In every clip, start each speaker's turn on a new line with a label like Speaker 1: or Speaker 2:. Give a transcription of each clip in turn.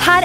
Speaker 1: her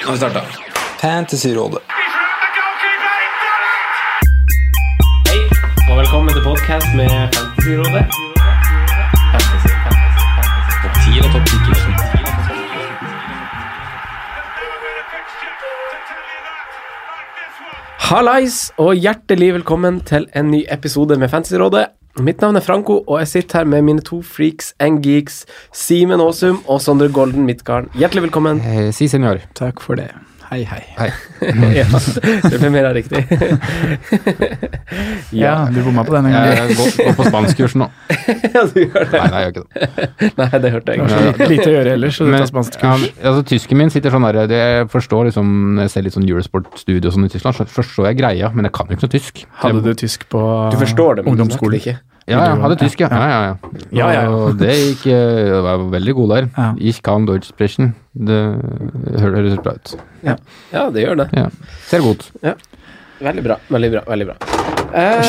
Speaker 2: Nå har vi starta. Fantasyrådet.
Speaker 3: Hei, og velkommen til podcast med Fantasyrådet. Topp 10 og topp 10 Hallais, og hjertelig velkommen til en ny episode med Fantasyrådet. Mitt navn er Franco, og jeg sitter her med mine to freaks and geeks, Simen Aasum og Sondre Golden Midtgarden. Hjertelig velkommen.
Speaker 2: Eh, si senior.
Speaker 4: Takk for det. Hei, hei.
Speaker 3: ja, det ble mer riktig.
Speaker 4: Ja, du bomma på den en gang.
Speaker 2: Jeg går, går Eh, på spanskkurs nå.
Speaker 3: ja, du gjør det.
Speaker 2: Nei, nei, jeg gjør ikke det.
Speaker 3: Nei, det hørte jeg
Speaker 4: Det
Speaker 3: ikke.
Speaker 4: var så lite å gjøre ellers, så du
Speaker 2: Men,
Speaker 4: tar spansk kurs.
Speaker 2: ja, altså, tysken min sitter sånn der Jeg forstår liksom når Jeg ser litt sånn Eurosport-studio og sånn i Tyskland, så forstår jeg greia, men jeg kan jo ikke noe tysk.
Speaker 4: Hadde du tysk på
Speaker 3: Du forstår det, men du snakker
Speaker 4: ungdomsskolen?
Speaker 3: det ikke.
Speaker 2: Ja, ja, hadde tysk, ja. Ja, ja, ja.
Speaker 4: Ja, ja, ja.
Speaker 2: Og det gikk eh, Det var veldig god der.
Speaker 4: Ja.
Speaker 2: Ich kann Deutsch sprechen. Det høres bra ut.
Speaker 3: Ja, det gjør det.
Speaker 2: Ja. Ser godt.
Speaker 3: Veldig bra. veldig bra, veldig bra. Eh,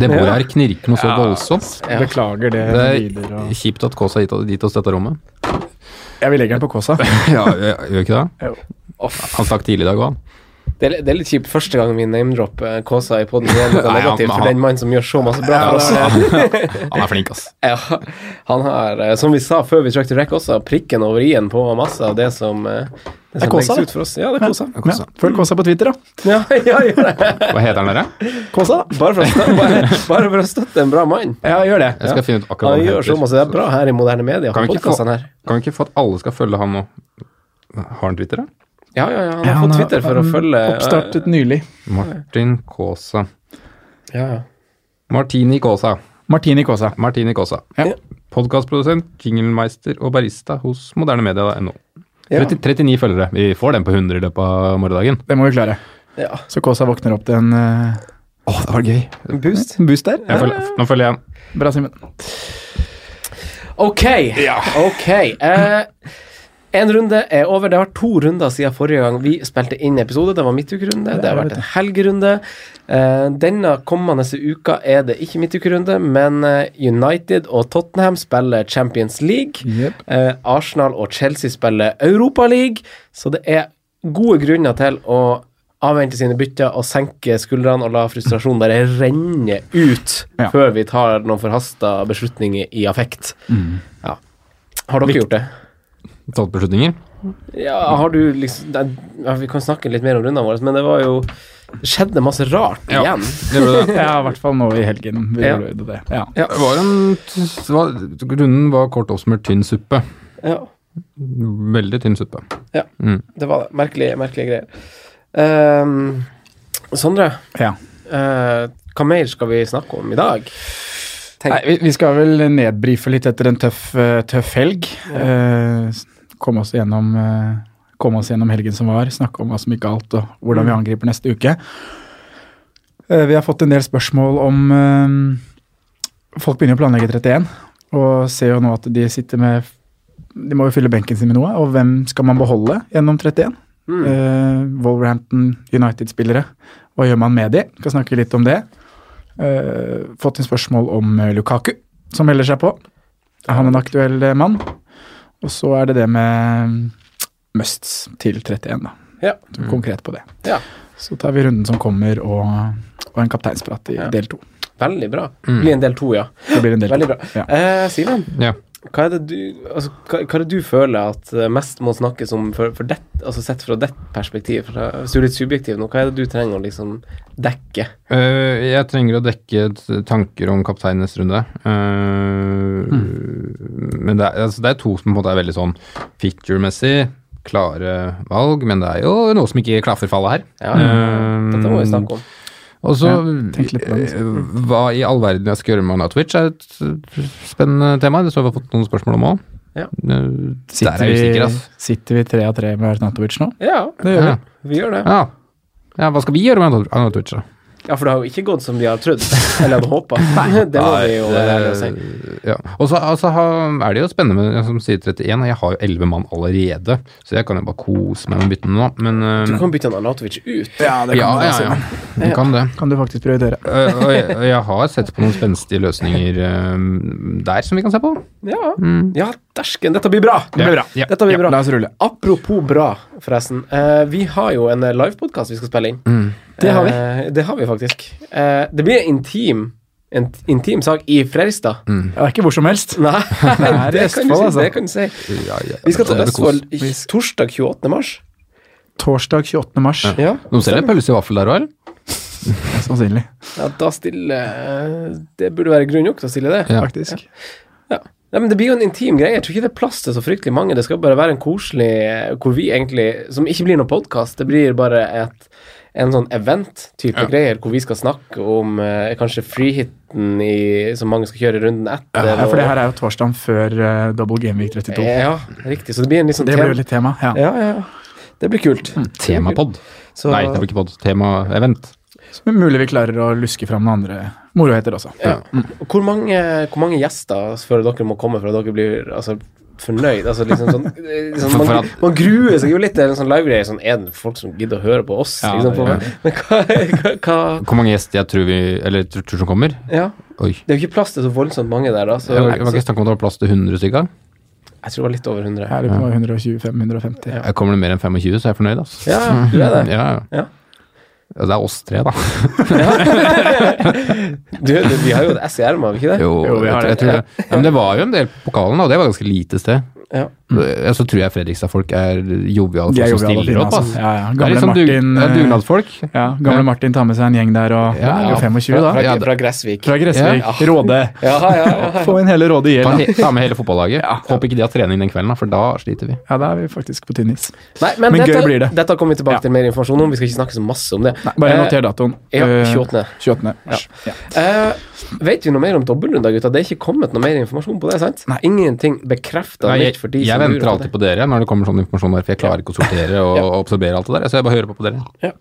Speaker 2: Det bordet her knirker noe så voldsomt.
Speaker 4: Beklager det.
Speaker 2: Det
Speaker 4: lyder
Speaker 2: er
Speaker 4: og
Speaker 2: kjipt at Kåsa gikk dit oss dette rommet.
Speaker 4: Ja, vi legger den på Kåsa.
Speaker 2: Ja, gjør ikke det?
Speaker 4: Jo.
Speaker 3: off.
Speaker 2: Han stakk tidlig i dag òg, han.
Speaker 3: det, er, litt- det er litt kjipt første gangen vi name-dropper Kåsa i poden. Det er litt
Speaker 2: Nei, han-
Speaker 3: negativt for
Speaker 2: han-
Speaker 3: den mannen som gjør så masse bra for oss.
Speaker 2: Han er flink, ass.
Speaker 3: Ja, han har, eh, som vi sa før vi trakk til rekk også, prikken over i-en på masse av det som, eh, det som
Speaker 4: Kåsa,
Speaker 3: legges
Speaker 4: det.
Speaker 3: ut for oss. Ja, det er Kåsa.
Speaker 4: Ja, følg Kåsa på Twitter, da.
Speaker 3: Ja, ja, gjør det.
Speaker 2: Hva heter han dere?
Speaker 4: Kåsa, da.
Speaker 3: Bare for, å støtte, bare, bare for å støtte en bra mann.
Speaker 4: Ja, gjør det.
Speaker 2: Jeg skal finne ut akkurat
Speaker 3: Han
Speaker 2: hva han
Speaker 3: gjør så masse. Det er bra her i moderne media.
Speaker 2: Kan vi, ikke få,
Speaker 3: podcasten her.
Speaker 2: kan vi ikke få at alle skal følge han nå? Har han Twitter, da?
Speaker 3: Ja, ja, ja. Han har fått Twitter for å
Speaker 4: han
Speaker 3: følge eh,
Speaker 4: Oppstartet nylig.
Speaker 2: Martin Kaasa.
Speaker 3: Ja, ja.
Speaker 2: Martini Kaasa.
Speaker 4: Martini Kåsa.
Speaker 2: Martini Kaasa.
Speaker 4: Ja.
Speaker 2: Podkastprodusent, jinglemeister og barista hos modernemedia.no.
Speaker 3: Ja.
Speaker 2: 30 39 følgere. Vi får den på 100 i løpet av morgendagen.
Speaker 4: Det må vi klare.
Speaker 3: Ja.
Speaker 4: Så Kåsa våkner opp til en eh,
Speaker 2: Åh, det var gøy.
Speaker 3: Boost.
Speaker 4: boost der.
Speaker 2: Jeg følger, nå følger jeg han.
Speaker 4: Bra, Simen.
Speaker 3: Ok. ok. Eh, en runde er over. Det har vært to runder siden forrige gang vi spilte inn episode. Det var midtukerunde, det har vært en helgerunde. Eh, denne kommende uka er det ikke midtukerunde, men eh, United og Tottenham spiller Champions League.
Speaker 4: Jep.
Speaker 3: Eh, Arsenal og Chelsea spiller Europa League, så det er gode grunner til å avvente sine bytter og senke skuldrene og la frustrasjonen bare renne ut
Speaker 4: Ja.
Speaker 3: før vi tar noen forhasta beslutninger i affekt. Ja. Har dere gjort det?
Speaker 2: Tatt beslutninger.
Speaker 3: Ja, har du liksom nei, ja, Vi kan snakke litt mer om rundene våre, men det var jo det skjedde masse rart
Speaker 2: Ja.
Speaker 3: igjen.
Speaker 2: Det gjorde det.
Speaker 4: Ja, i hvert fall nå i helgen. Vi
Speaker 3: Ja.
Speaker 4: gjorde det. Ja.
Speaker 2: Det var en, det var, grunnen var kort oppsummert tynn suppe.
Speaker 3: Ja,
Speaker 2: Veldig tynn suppe.
Speaker 3: det var det. Merkelige, merkelige greier. Ehm, Sondre,
Speaker 4: ja.
Speaker 3: eh, hva mer skal vi snakke om i dag?
Speaker 4: Nei, vi, vi skal vel nedbrife litt etter en tøff, eh, tøff helg. Eh, s- komme, oss gjennom, eh, komme oss gjennom helgen som var, snakke om hva som gikk galt og hvordan vi angriper neste uke. Eh, vi har fått en del spørsmål om eh, Folk begynner å planlegge 31 og ser jo nå at de sitter med De må jo fylle benken sin med noe, og hvem skal man beholde gjennom 31? Eh, Wolverhampton United-spillere. Hva gjør man med de? Skal snakke litt om det. Eh, fått inn spørsmål om eh, Lukaku, som melder seg på. Er han en aktuell eh, mann? Og så er det det med mm, musts til 31, da.
Speaker 3: Ja.
Speaker 4: Så Konkret på det.
Speaker 3: Ja.
Speaker 4: Så tar vi runden som kommer, og, og en kapteinsprat i
Speaker 3: Ja.
Speaker 4: del to.
Speaker 3: Veldig bra. Blir en del to, ja.
Speaker 4: Det blir en Mm. del
Speaker 3: Veldig bra.
Speaker 4: Ja.
Speaker 3: Eh, Simen,
Speaker 2: Ja.
Speaker 3: Hva er det du, altså, hva, hva er det du føler at eh, mest må snakkes om for, for det, altså sett fra ditt perspektiv? Fra, hvis du er litt subjektiv nå, hva er det du trenger å liksom dekke?
Speaker 2: Eh, jeg trenger å dekke t- tanker om kaptein neste runde. Eh, Men det er, altså det er to som på en måte er veldig sånn feature-messig klare valg, men det er jo noe som ikke klaffer fallet her.
Speaker 3: Ja, Mm. Dette må vi
Speaker 2: Eh,
Speaker 3: snakke om.
Speaker 2: Og så
Speaker 4: Ja, tenk litt på det.
Speaker 2: eh, Hva i all verden jeg skal gjøre med Arnautovic er et eh, spennende tema. Det står vi har fått noen spørsmål om òg.
Speaker 3: Ja.
Speaker 2: Der er jeg usikker, altså.
Speaker 4: sitter vi tre av tre med Arnatovic nå?
Speaker 3: Ja,
Speaker 4: Det gjør
Speaker 2: Ja.
Speaker 4: vi.
Speaker 3: vi gjør det.
Speaker 2: Ja. ja, hva skal vi gjøre med Arnautovic, da?
Speaker 3: Ja, for det har jo ikke gått som vi har trodd, eller hadde håpa. Det må vi jo være ærlige og si.
Speaker 2: Ja. Og så og så har- er det jo spennende med jeg som sier 31, og jeg har jo 11 mann allerede, så jeg kan jo bare kose meg med å bytte den nå. Men eh,
Speaker 3: Du kan bytte han Arnautovic ut.
Speaker 4: Ja, det
Speaker 2: ja, ja, ja. Jeg kan det.
Speaker 4: Kan du faktisk prioritere.
Speaker 2: Eh, og, jeg, og jeg har sett på noen spenstige løsninger eh, der som vi kan se på.
Speaker 3: Ja, ja dæsken, dette blir bra!
Speaker 2: blir bra. Ja.
Speaker 3: Dette blir
Speaker 4: Mm. Ja,
Speaker 3: bra.
Speaker 4: la oss rulle.
Speaker 3: Apropos bra, forresten. Eh, vi har jo en eh, livepodkast vi skal spille inn.
Speaker 4: Det har vi.
Speaker 3: Eh, det har vi faktisk. Eh, det blir en intim, en t- intim sak i Fredrikstad.
Speaker 2: Mm.
Speaker 4: Det er ikke hvor som helst.
Speaker 3: Nei,
Speaker 4: Nei, Mm. det er
Speaker 3: det kan du
Speaker 4: Østfold,
Speaker 3: si.
Speaker 4: altså.
Speaker 3: Det kan du si.
Speaker 2: Ja, ja,
Speaker 3: Vi skal til
Speaker 2: det er kos.
Speaker 3: Østfold i torsdag 28. mars.
Speaker 4: Torsdag 28. mars.
Speaker 3: Ja,
Speaker 2: Noen selger pølse i vaffel der òg, eller?
Speaker 4: Sannsynlig.
Speaker 3: ja da stiller eh, Det burde være grunn nok til å stille det.
Speaker 2: Ja.
Speaker 4: Faktisk.
Speaker 3: Nei, men Det blir jo en intim greie. Jeg tror ikke det er plass til så fryktelig mange. Det skal bare være en koselig eh, hvor vi egentlig Som ikke blir noen podkast. Det blir bare et, en sånn event-type greier hvor vi skal snakke om eh, kanskje freehiten i- som mange skal kjøre runden etter.
Speaker 4: Ja, for
Speaker 3: og-
Speaker 4: det her er jo torsdagen før eh, Double Game Week 32.
Speaker 3: Ja, riktig. Så det blir en litt sånn
Speaker 4: Det
Speaker 3: tema-
Speaker 4: blir jo litt Hmm, tema. Ja.
Speaker 3: Ja, ja, ja. Det blir kult.
Speaker 2: Temapod.
Speaker 3: Så,
Speaker 2: Nei, det blir ikke pod. Tema-event.
Speaker 4: Så mulig vi klarer å luske fram noen andre moroheter også.
Speaker 3: Hvor mange, hvor mange gjester føler dere må komme for at dere blir altså, fornøyd? Altså, liksom sånn, eh, sånn,
Speaker 2: For- for
Speaker 3: man,
Speaker 2: at-
Speaker 3: man gruer seg jo litt til en sånn livegreie. Sånn, er det folk som gidder å høre på oss?
Speaker 4: Ja,
Speaker 3: liksom,
Speaker 4: det-
Speaker 3: på, men hva, hva, hva
Speaker 2: Hvor mange gjester jeg tror vi Eller tror, tror som kommer?
Speaker 3: Ja.
Speaker 2: Oi.
Speaker 3: Det er jo ikke plass til så voldsomt mange der, da. Så,
Speaker 2: Det var, det
Speaker 3: så
Speaker 2: var ikke
Speaker 3: jeg
Speaker 2: snakk om at det var plass til 100 stykker.
Speaker 3: tror det var litt over 100.
Speaker 4: Her er vi på 125-150.
Speaker 2: Jeg kommer det mer enn 25, så er jeg fornøyd, altså.
Speaker 3: Ja, du er det.
Speaker 2: Ja, ja.
Speaker 3: Ja.
Speaker 2: Ja, Det er oss tre, da.
Speaker 3: Du, du, vi har jo et S i ermet, har vi ikke det?
Speaker 2: Jo,
Speaker 4: vi har
Speaker 2: jeg, jeg
Speaker 4: det.
Speaker 2: tror det. Ja, men det var jo en del på pokalen, da, og det var ganske lite sted. Mm.
Speaker 3: Ja.
Speaker 2: Ja, så tror jeg Fredrikstad-folk er joviale
Speaker 4: De er
Speaker 2: folk som
Speaker 4: joviale og
Speaker 2: stiller
Speaker 4: fine,
Speaker 2: opp.
Speaker 4: altså.
Speaker 2: ass.
Speaker 4: Ja, ja.
Speaker 2: Det er
Speaker 4: Gamle
Speaker 2: litt sånn dug-
Speaker 4: Martin,
Speaker 2: det er
Speaker 4: eh,
Speaker 2: dugnadsfolk.
Speaker 4: Ja, gamle Martin tar med seg en gjeng der, og ja,
Speaker 2: Ja,
Speaker 4: er jo
Speaker 2: ja.
Speaker 4: 25 da.
Speaker 3: Fra,
Speaker 2: Ja, det-
Speaker 3: fra Gressvik.
Speaker 4: Fra Gressvik, Råde.
Speaker 3: Ja, ja, ja.
Speaker 4: Få inn hele Råde i
Speaker 2: Ta,
Speaker 4: gjeld. da.
Speaker 2: he- ta med hele fotballaget. Håper ikke de har trening den kvelden, da, for da sliter vi.
Speaker 4: Ja, da er vi faktisk på tynn is.
Speaker 3: Nei, men,
Speaker 4: Men
Speaker 3: dette,
Speaker 4: gøy blir det.
Speaker 3: dette kommer vi tilbake
Speaker 4: Ja.
Speaker 3: til mer informasjon om. Vi skal ikke snakke så masse om det.
Speaker 4: Bare
Speaker 3: Eh,
Speaker 4: noter datoen.
Speaker 3: ja,
Speaker 4: Eh,
Speaker 3: 28..
Speaker 4: 28. mars. Ja.
Speaker 3: Eh, vet vi noe mer om dobbeltrunder, gutta? Det er ikke kommet noe mer informasjon på det, sant?
Speaker 4: Nei.
Speaker 3: Ingenting bekrefta
Speaker 2: Nei,
Speaker 3: nytt
Speaker 2: jeg,
Speaker 3: for de som
Speaker 2: jeg venter alltid på dere når det kommer sånn informasjon der, for jeg klarer ikke å sortere og, og absorbere alt det der. Så jeg bare hører på på dere.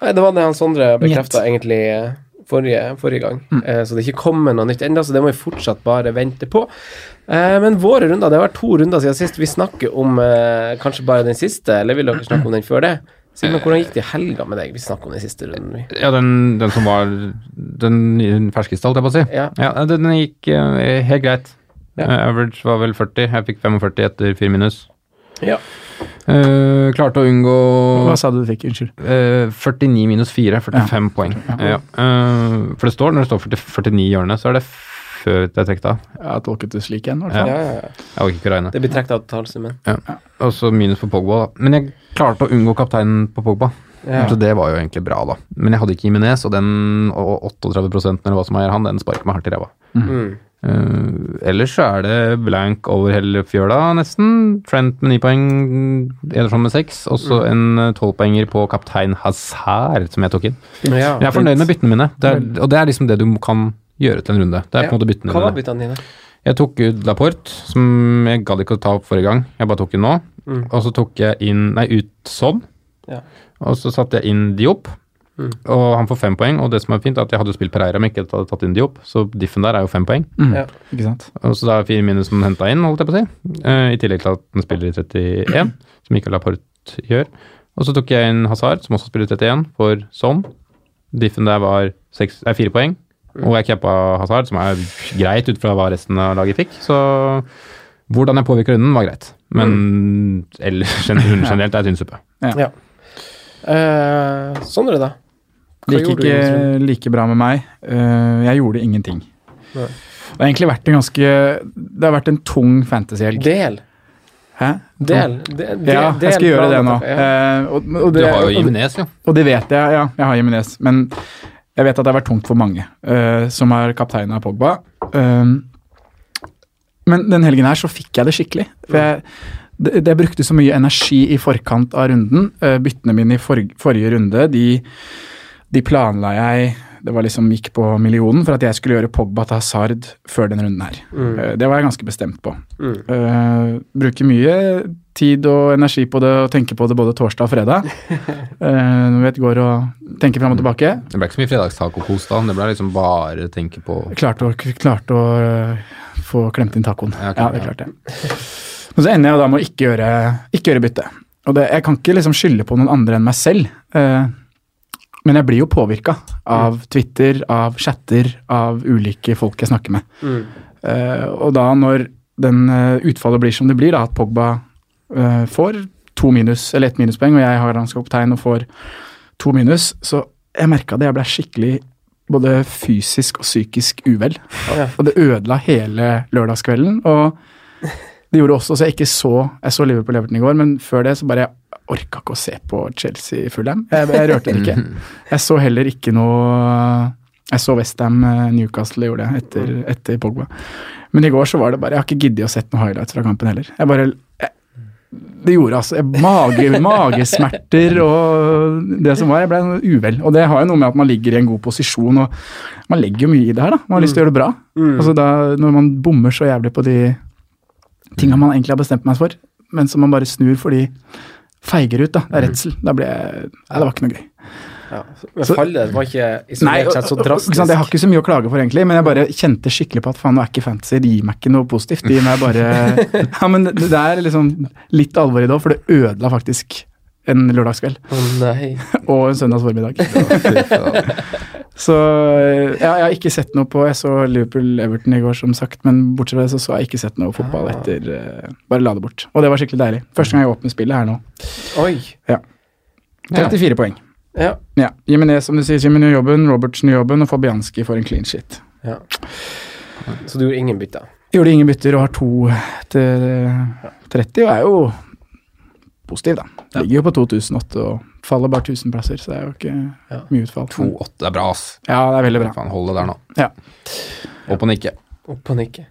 Speaker 3: Nei, det var det han Sondre bekrefta egentlig eh, forrige, forrige gang.
Speaker 2: Mm.
Speaker 3: Eh, så det er ikke kommet noe nytt ennå, så det må vi fortsatt bare vente på. Eh, men våre runder, det har vært to runder siden sist. Vi snakker om eh, kanskje bare den siste, eller vil dere snakke om den før det? Simen, hvordan gikk det i helga med deg? Vi snakker om den siste runden, vi.
Speaker 2: Ja, den, den som var den ferskeste, holdt jeg på å si.
Speaker 3: Ja.
Speaker 2: den gikk eh, helt greit.
Speaker 3: Ja.
Speaker 2: Eh, average var vel 40. Jeg fikk 45 etter 4 minus.
Speaker 3: Ja.
Speaker 2: Eh, klarte å unngå
Speaker 4: Hva sa du du fikk? Unnskyld.
Speaker 2: Eh, 49 minus 4, 45 poeng. Ja. Eh, for det står, når det står 40, 49 i hjørnet, så er det før det er trukket av.
Speaker 4: Jeg tolket det slik igjen, i hvert
Speaker 2: Ja.
Speaker 4: fall.
Speaker 3: Ja, ja, ja.
Speaker 2: Jeg orker ikke å regne.
Speaker 3: Det blir trukket av talsummen.
Speaker 2: Ja. Og så minus på Pogba, da. Men jeg klarte å unngå kapteinen på Pogba.
Speaker 3: Ja.
Speaker 2: Så det var jo egentlig bra, da. Men jeg hadde ikke Jimenez, og den og 38 eller hva som er han, den sparker meg hardt i ræva.
Speaker 3: Mm.
Speaker 2: Eh, ellers så er det blank over hele fjøla, nesten. Trent med ni poeng, Ederson med seks, og så en tolvpoenger på kaptein Hazard, som jeg tok inn.
Speaker 3: Ja,
Speaker 2: Jeg er fornøyd med byttene mine, det er, og det er liksom det du kan gjøre til en runde. Det er på en måte byttene
Speaker 3: Hva var
Speaker 2: dine.
Speaker 3: byttene dine?
Speaker 2: Jeg tok ut Laporte, som jeg gadd ikke å ta opp forrige gang. Jeg bare tok den nå. Og så tok jeg inn Nei, ut sånn.
Speaker 3: Ja.
Speaker 2: Og så satte jeg inn Diop. Og han får fem poeng, og det som er fint, er at jeg hadde jo spilt Pereira, men ikke hadde tatt inn Diop, så diffen der er jo fem poeng.
Speaker 3: Ja.
Speaker 4: Ikke sant?
Speaker 2: Og så da er fire minus som den henta inn, holdt jeg på å si. Eh, I tillegg til at den spiller i 31, som Michael Laporte gjør. Og så tok jeg inn Hazard, som også spiller i 31, for sånn. Diffen der var seks, nei, fire poeng. Og jeg cappa Hazard, som er greit ut fra hva resten av laget fikk. Så hvordan jeg påvirker runden, var greit. Men ellers runden generelt er tynnsuppe.
Speaker 3: Ja. Eh, Sondre, da? Hva
Speaker 4: Det gikk
Speaker 3: gjorde du i
Speaker 4: ikke like bra med meg. Eh, Jeg gjorde ingenting.
Speaker 3: Nei.
Speaker 4: Det har egentlig vært en ganske Det har vært en tung fantasyhelg.
Speaker 3: Del.
Speaker 4: Hæ?
Speaker 3: Del. de- de-
Speaker 4: Sånn. Ja, jeg skal
Speaker 3: del
Speaker 4: gjøre det nå.
Speaker 3: planen. Ja.
Speaker 4: Eh, og, og
Speaker 2: Du
Speaker 4: det,
Speaker 2: har jo
Speaker 4: og,
Speaker 2: Jimenez, jo.
Speaker 4: og det vet jeg, ja. Jeg har Jimenez. Men jeg vet at det har vært tungt for mange eh, som er kaptein av Pogba. Um, men den helgen her så fikk jeg det skikkelig. For jeg, det, det jeg brukte så mye energi i forkant av runden. Eh, byttene mine i for, forrige runde, de, de planla jeg Det var liksom gikk på millionen for at jeg skulle gjøre Pogba til Hazard før den runden her. Eh, det var jeg ganske bestemt på. Eh, bruker mye tid og energi på det og tenker på det både torsdag og fredag. Eh, når vi vet, går og tenker fram og tilbake.
Speaker 2: Det ble ikke så mye fredagstacokos da. Det ble liksom bare tenke på
Speaker 4: Klarte å, klarte å øh, få klemt inn tacoen.
Speaker 2: Ja,
Speaker 4: Ja,
Speaker 2: ok.
Speaker 4: det klarte jeg. Men så ender jeg jo da med å ikke gjøre, ikke gjøre bytte. Og det, jeg kan ikke liksom skylde på noen andre enn meg selv. eh, men jeg blir jo påvirka av
Speaker 2: Mm.
Speaker 4: Twitter, av chatter, av ulike folk jeg snakker med.
Speaker 2: Mm.
Speaker 4: Eh, og da når den eh, utfallet blir som det blir, da, at Pogba eh, får to minus, eller ett minuspoeng, og jeg har hans kaptein og får to minus, så jeg merka det. Jeg ble skikkelig både fysisk og psykisk uvel. Og det ødela hele lørdagskvelden. Og det gjorde også så jeg ikke så Jeg så Liverpool-Everton i går, men før det så bare jeg orka ikke å se på Chelsea-Fulham. Jeg, jeg rørte det ikke. Jeg så heller ikke noe Jeg så Westham eh, Newcastle gjorde det etter, etter Pogba. Men i går så var det bare Jeg har ikke giddet å sett noen highlights fra kampen heller. Jeg bare jeg, det gjorde altså jeg, mage, magesmerter og det som var. Jeg ble sånn uvel. Og det har jo noe med at man ligger i en god posisjon, og man legger jo mye i det her, da. Man har lyst til å gjøre det bra. Altså da, når man bommer så jævlig på de tinga man egentlig har bestemt meg for, men som man bare snur fordi feiger ut, da. Det er redsel. Da blir jeg Nei, det var ikke noe gøy.
Speaker 3: Ja. Men fallet var ikke
Speaker 4: Nei,
Speaker 3: isolert sett så
Speaker 4: og- og- ikke
Speaker 3: drastisk.
Speaker 4: sant, Jeg har ikke så mye å klage for, egentlig, men jeg bare kjente skikkelig på at faen, nå er ikke fantasy, det gir meg ikke noe positivt. Det gir meg bare Ja, men det det er liksom litt alvor i det òg, for det ødela faktisk en lørdagskveld
Speaker 3: Å nei.
Speaker 4: og en søndags formiddag. Så ja, jeg har ikke sett noe på Jeg så Liverpool-Everton i går, som sagt, men bortsett fra det så, så har jeg ikke sett noe
Speaker 3: Ah.
Speaker 4: fotball etter eh, Bare la det bort. Og det var skikkelig deilig. Første gang jeg åpner spillet her nå.
Speaker 3: Oi.
Speaker 4: Ja. 34 poeng.
Speaker 3: Ja.
Speaker 4: Ja. Jimenez, som du sier, Jimenez gjør jobben, Robertsen gjør jobben, og Fabianski får en clean shit.
Speaker 3: ja. Så du gjorde ingen bytter?
Speaker 4: Gjorde ingen bytter og har to til 30, og er jo positiv, da. Ligger jo på 2008 og faller bare 1000 plasser, så det er jo ikke mye utfall.
Speaker 2: 2-8. Det er bra, ass.
Speaker 4: Ja, det er veldig bra.
Speaker 2: Faen, hold det der nå.
Speaker 4: Ja.
Speaker 2: Opp og nikke.
Speaker 3: Opp og nikke.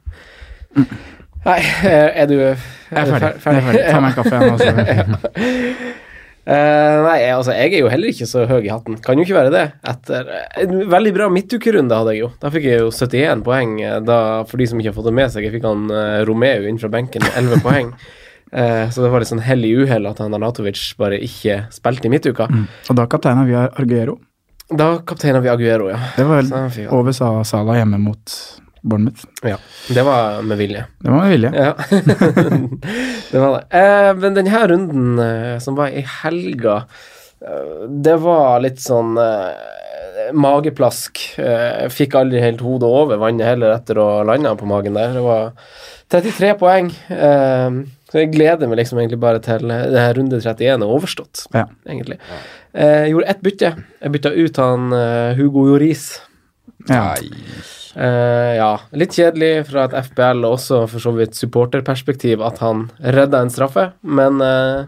Speaker 3: Nei, eh, er du er
Speaker 4: Mm. Jeg er
Speaker 3: du
Speaker 4: ferdig.
Speaker 3: fer-
Speaker 4: Jeg er ferdig. Ta meg en kaffe igjen. Altså.
Speaker 3: Eh, nei, jeg- altså, jeg er jo heller ikke så høy i hatten. Kan jo ikke være det. Etter eh, en veldig bra midtukerunde hadde jeg jo. Da fikk jeg jo 71 poeng. eh, Da, for de som ikke har fått det med seg, jeg fikk han eh, Romeo inn fra benken med 11 poeng. Eh, så det var litt sånn hell i uhell at han Arnatovic bare ikke spilte i midtuka.
Speaker 4: Mm. Og da kapteina vi Arguero.
Speaker 3: Da kapteina vi Aguero, ja.
Speaker 4: Det var
Speaker 3: Så han fikk han.
Speaker 4: over Sa- Sala hjemme mot Bournemouth.
Speaker 3: ja. Det var med vilje.
Speaker 4: Det var med vilje.
Speaker 3: Ja, det var det. Eh, men denne runden eh, som var i helga, eh, det var litt sånn eh, mageplask. Eh, fikk aldri helt hodet over vannet heller etter å ha landa på magen der. Det var 33 poeng. Eh, så jeg gleder meg liksom egentlig bare til eh, det her runde 31 er overstått,
Speaker 4: Ja.
Speaker 3: egentlig. Eh, gjorde ett bytte. Jeg bytta ut han eh, Hugo Joris.
Speaker 4: Ja.
Speaker 3: Eh, ja. Litt kjedelig fra et FBL og også for så vidt supporterperspektiv at han redda en straffe, men, eh,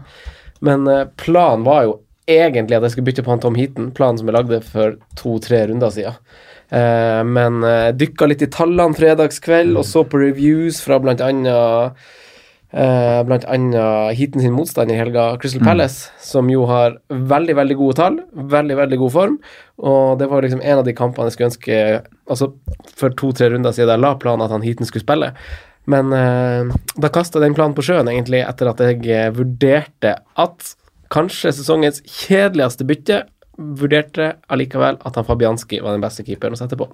Speaker 3: men eh, planen var jo egentlig at jeg skulle bytte på han Tom Heaton, planen som jeg lagde for to-tre runder siden. Eh, men uh, dykka litt i tallene fredagskveld og så på reviews fra blant annet eh, blant annet Heaton sin motstander i helga, Crystal Palace, som jo har veldig, veldig gode tall, veldig, veldig god form, og det var liksom en av de kampene jeg skulle ønske Altså, for to-tre runder siden jeg la planen at han Heaton skulle spille, men eh, da kasta den planen på sjøen, egentlig, etter at jeg eh, vurderte at kanskje sesongens kjedeligste bytte vurderte allikevel at han Fabianski var den beste keeperen å sette på.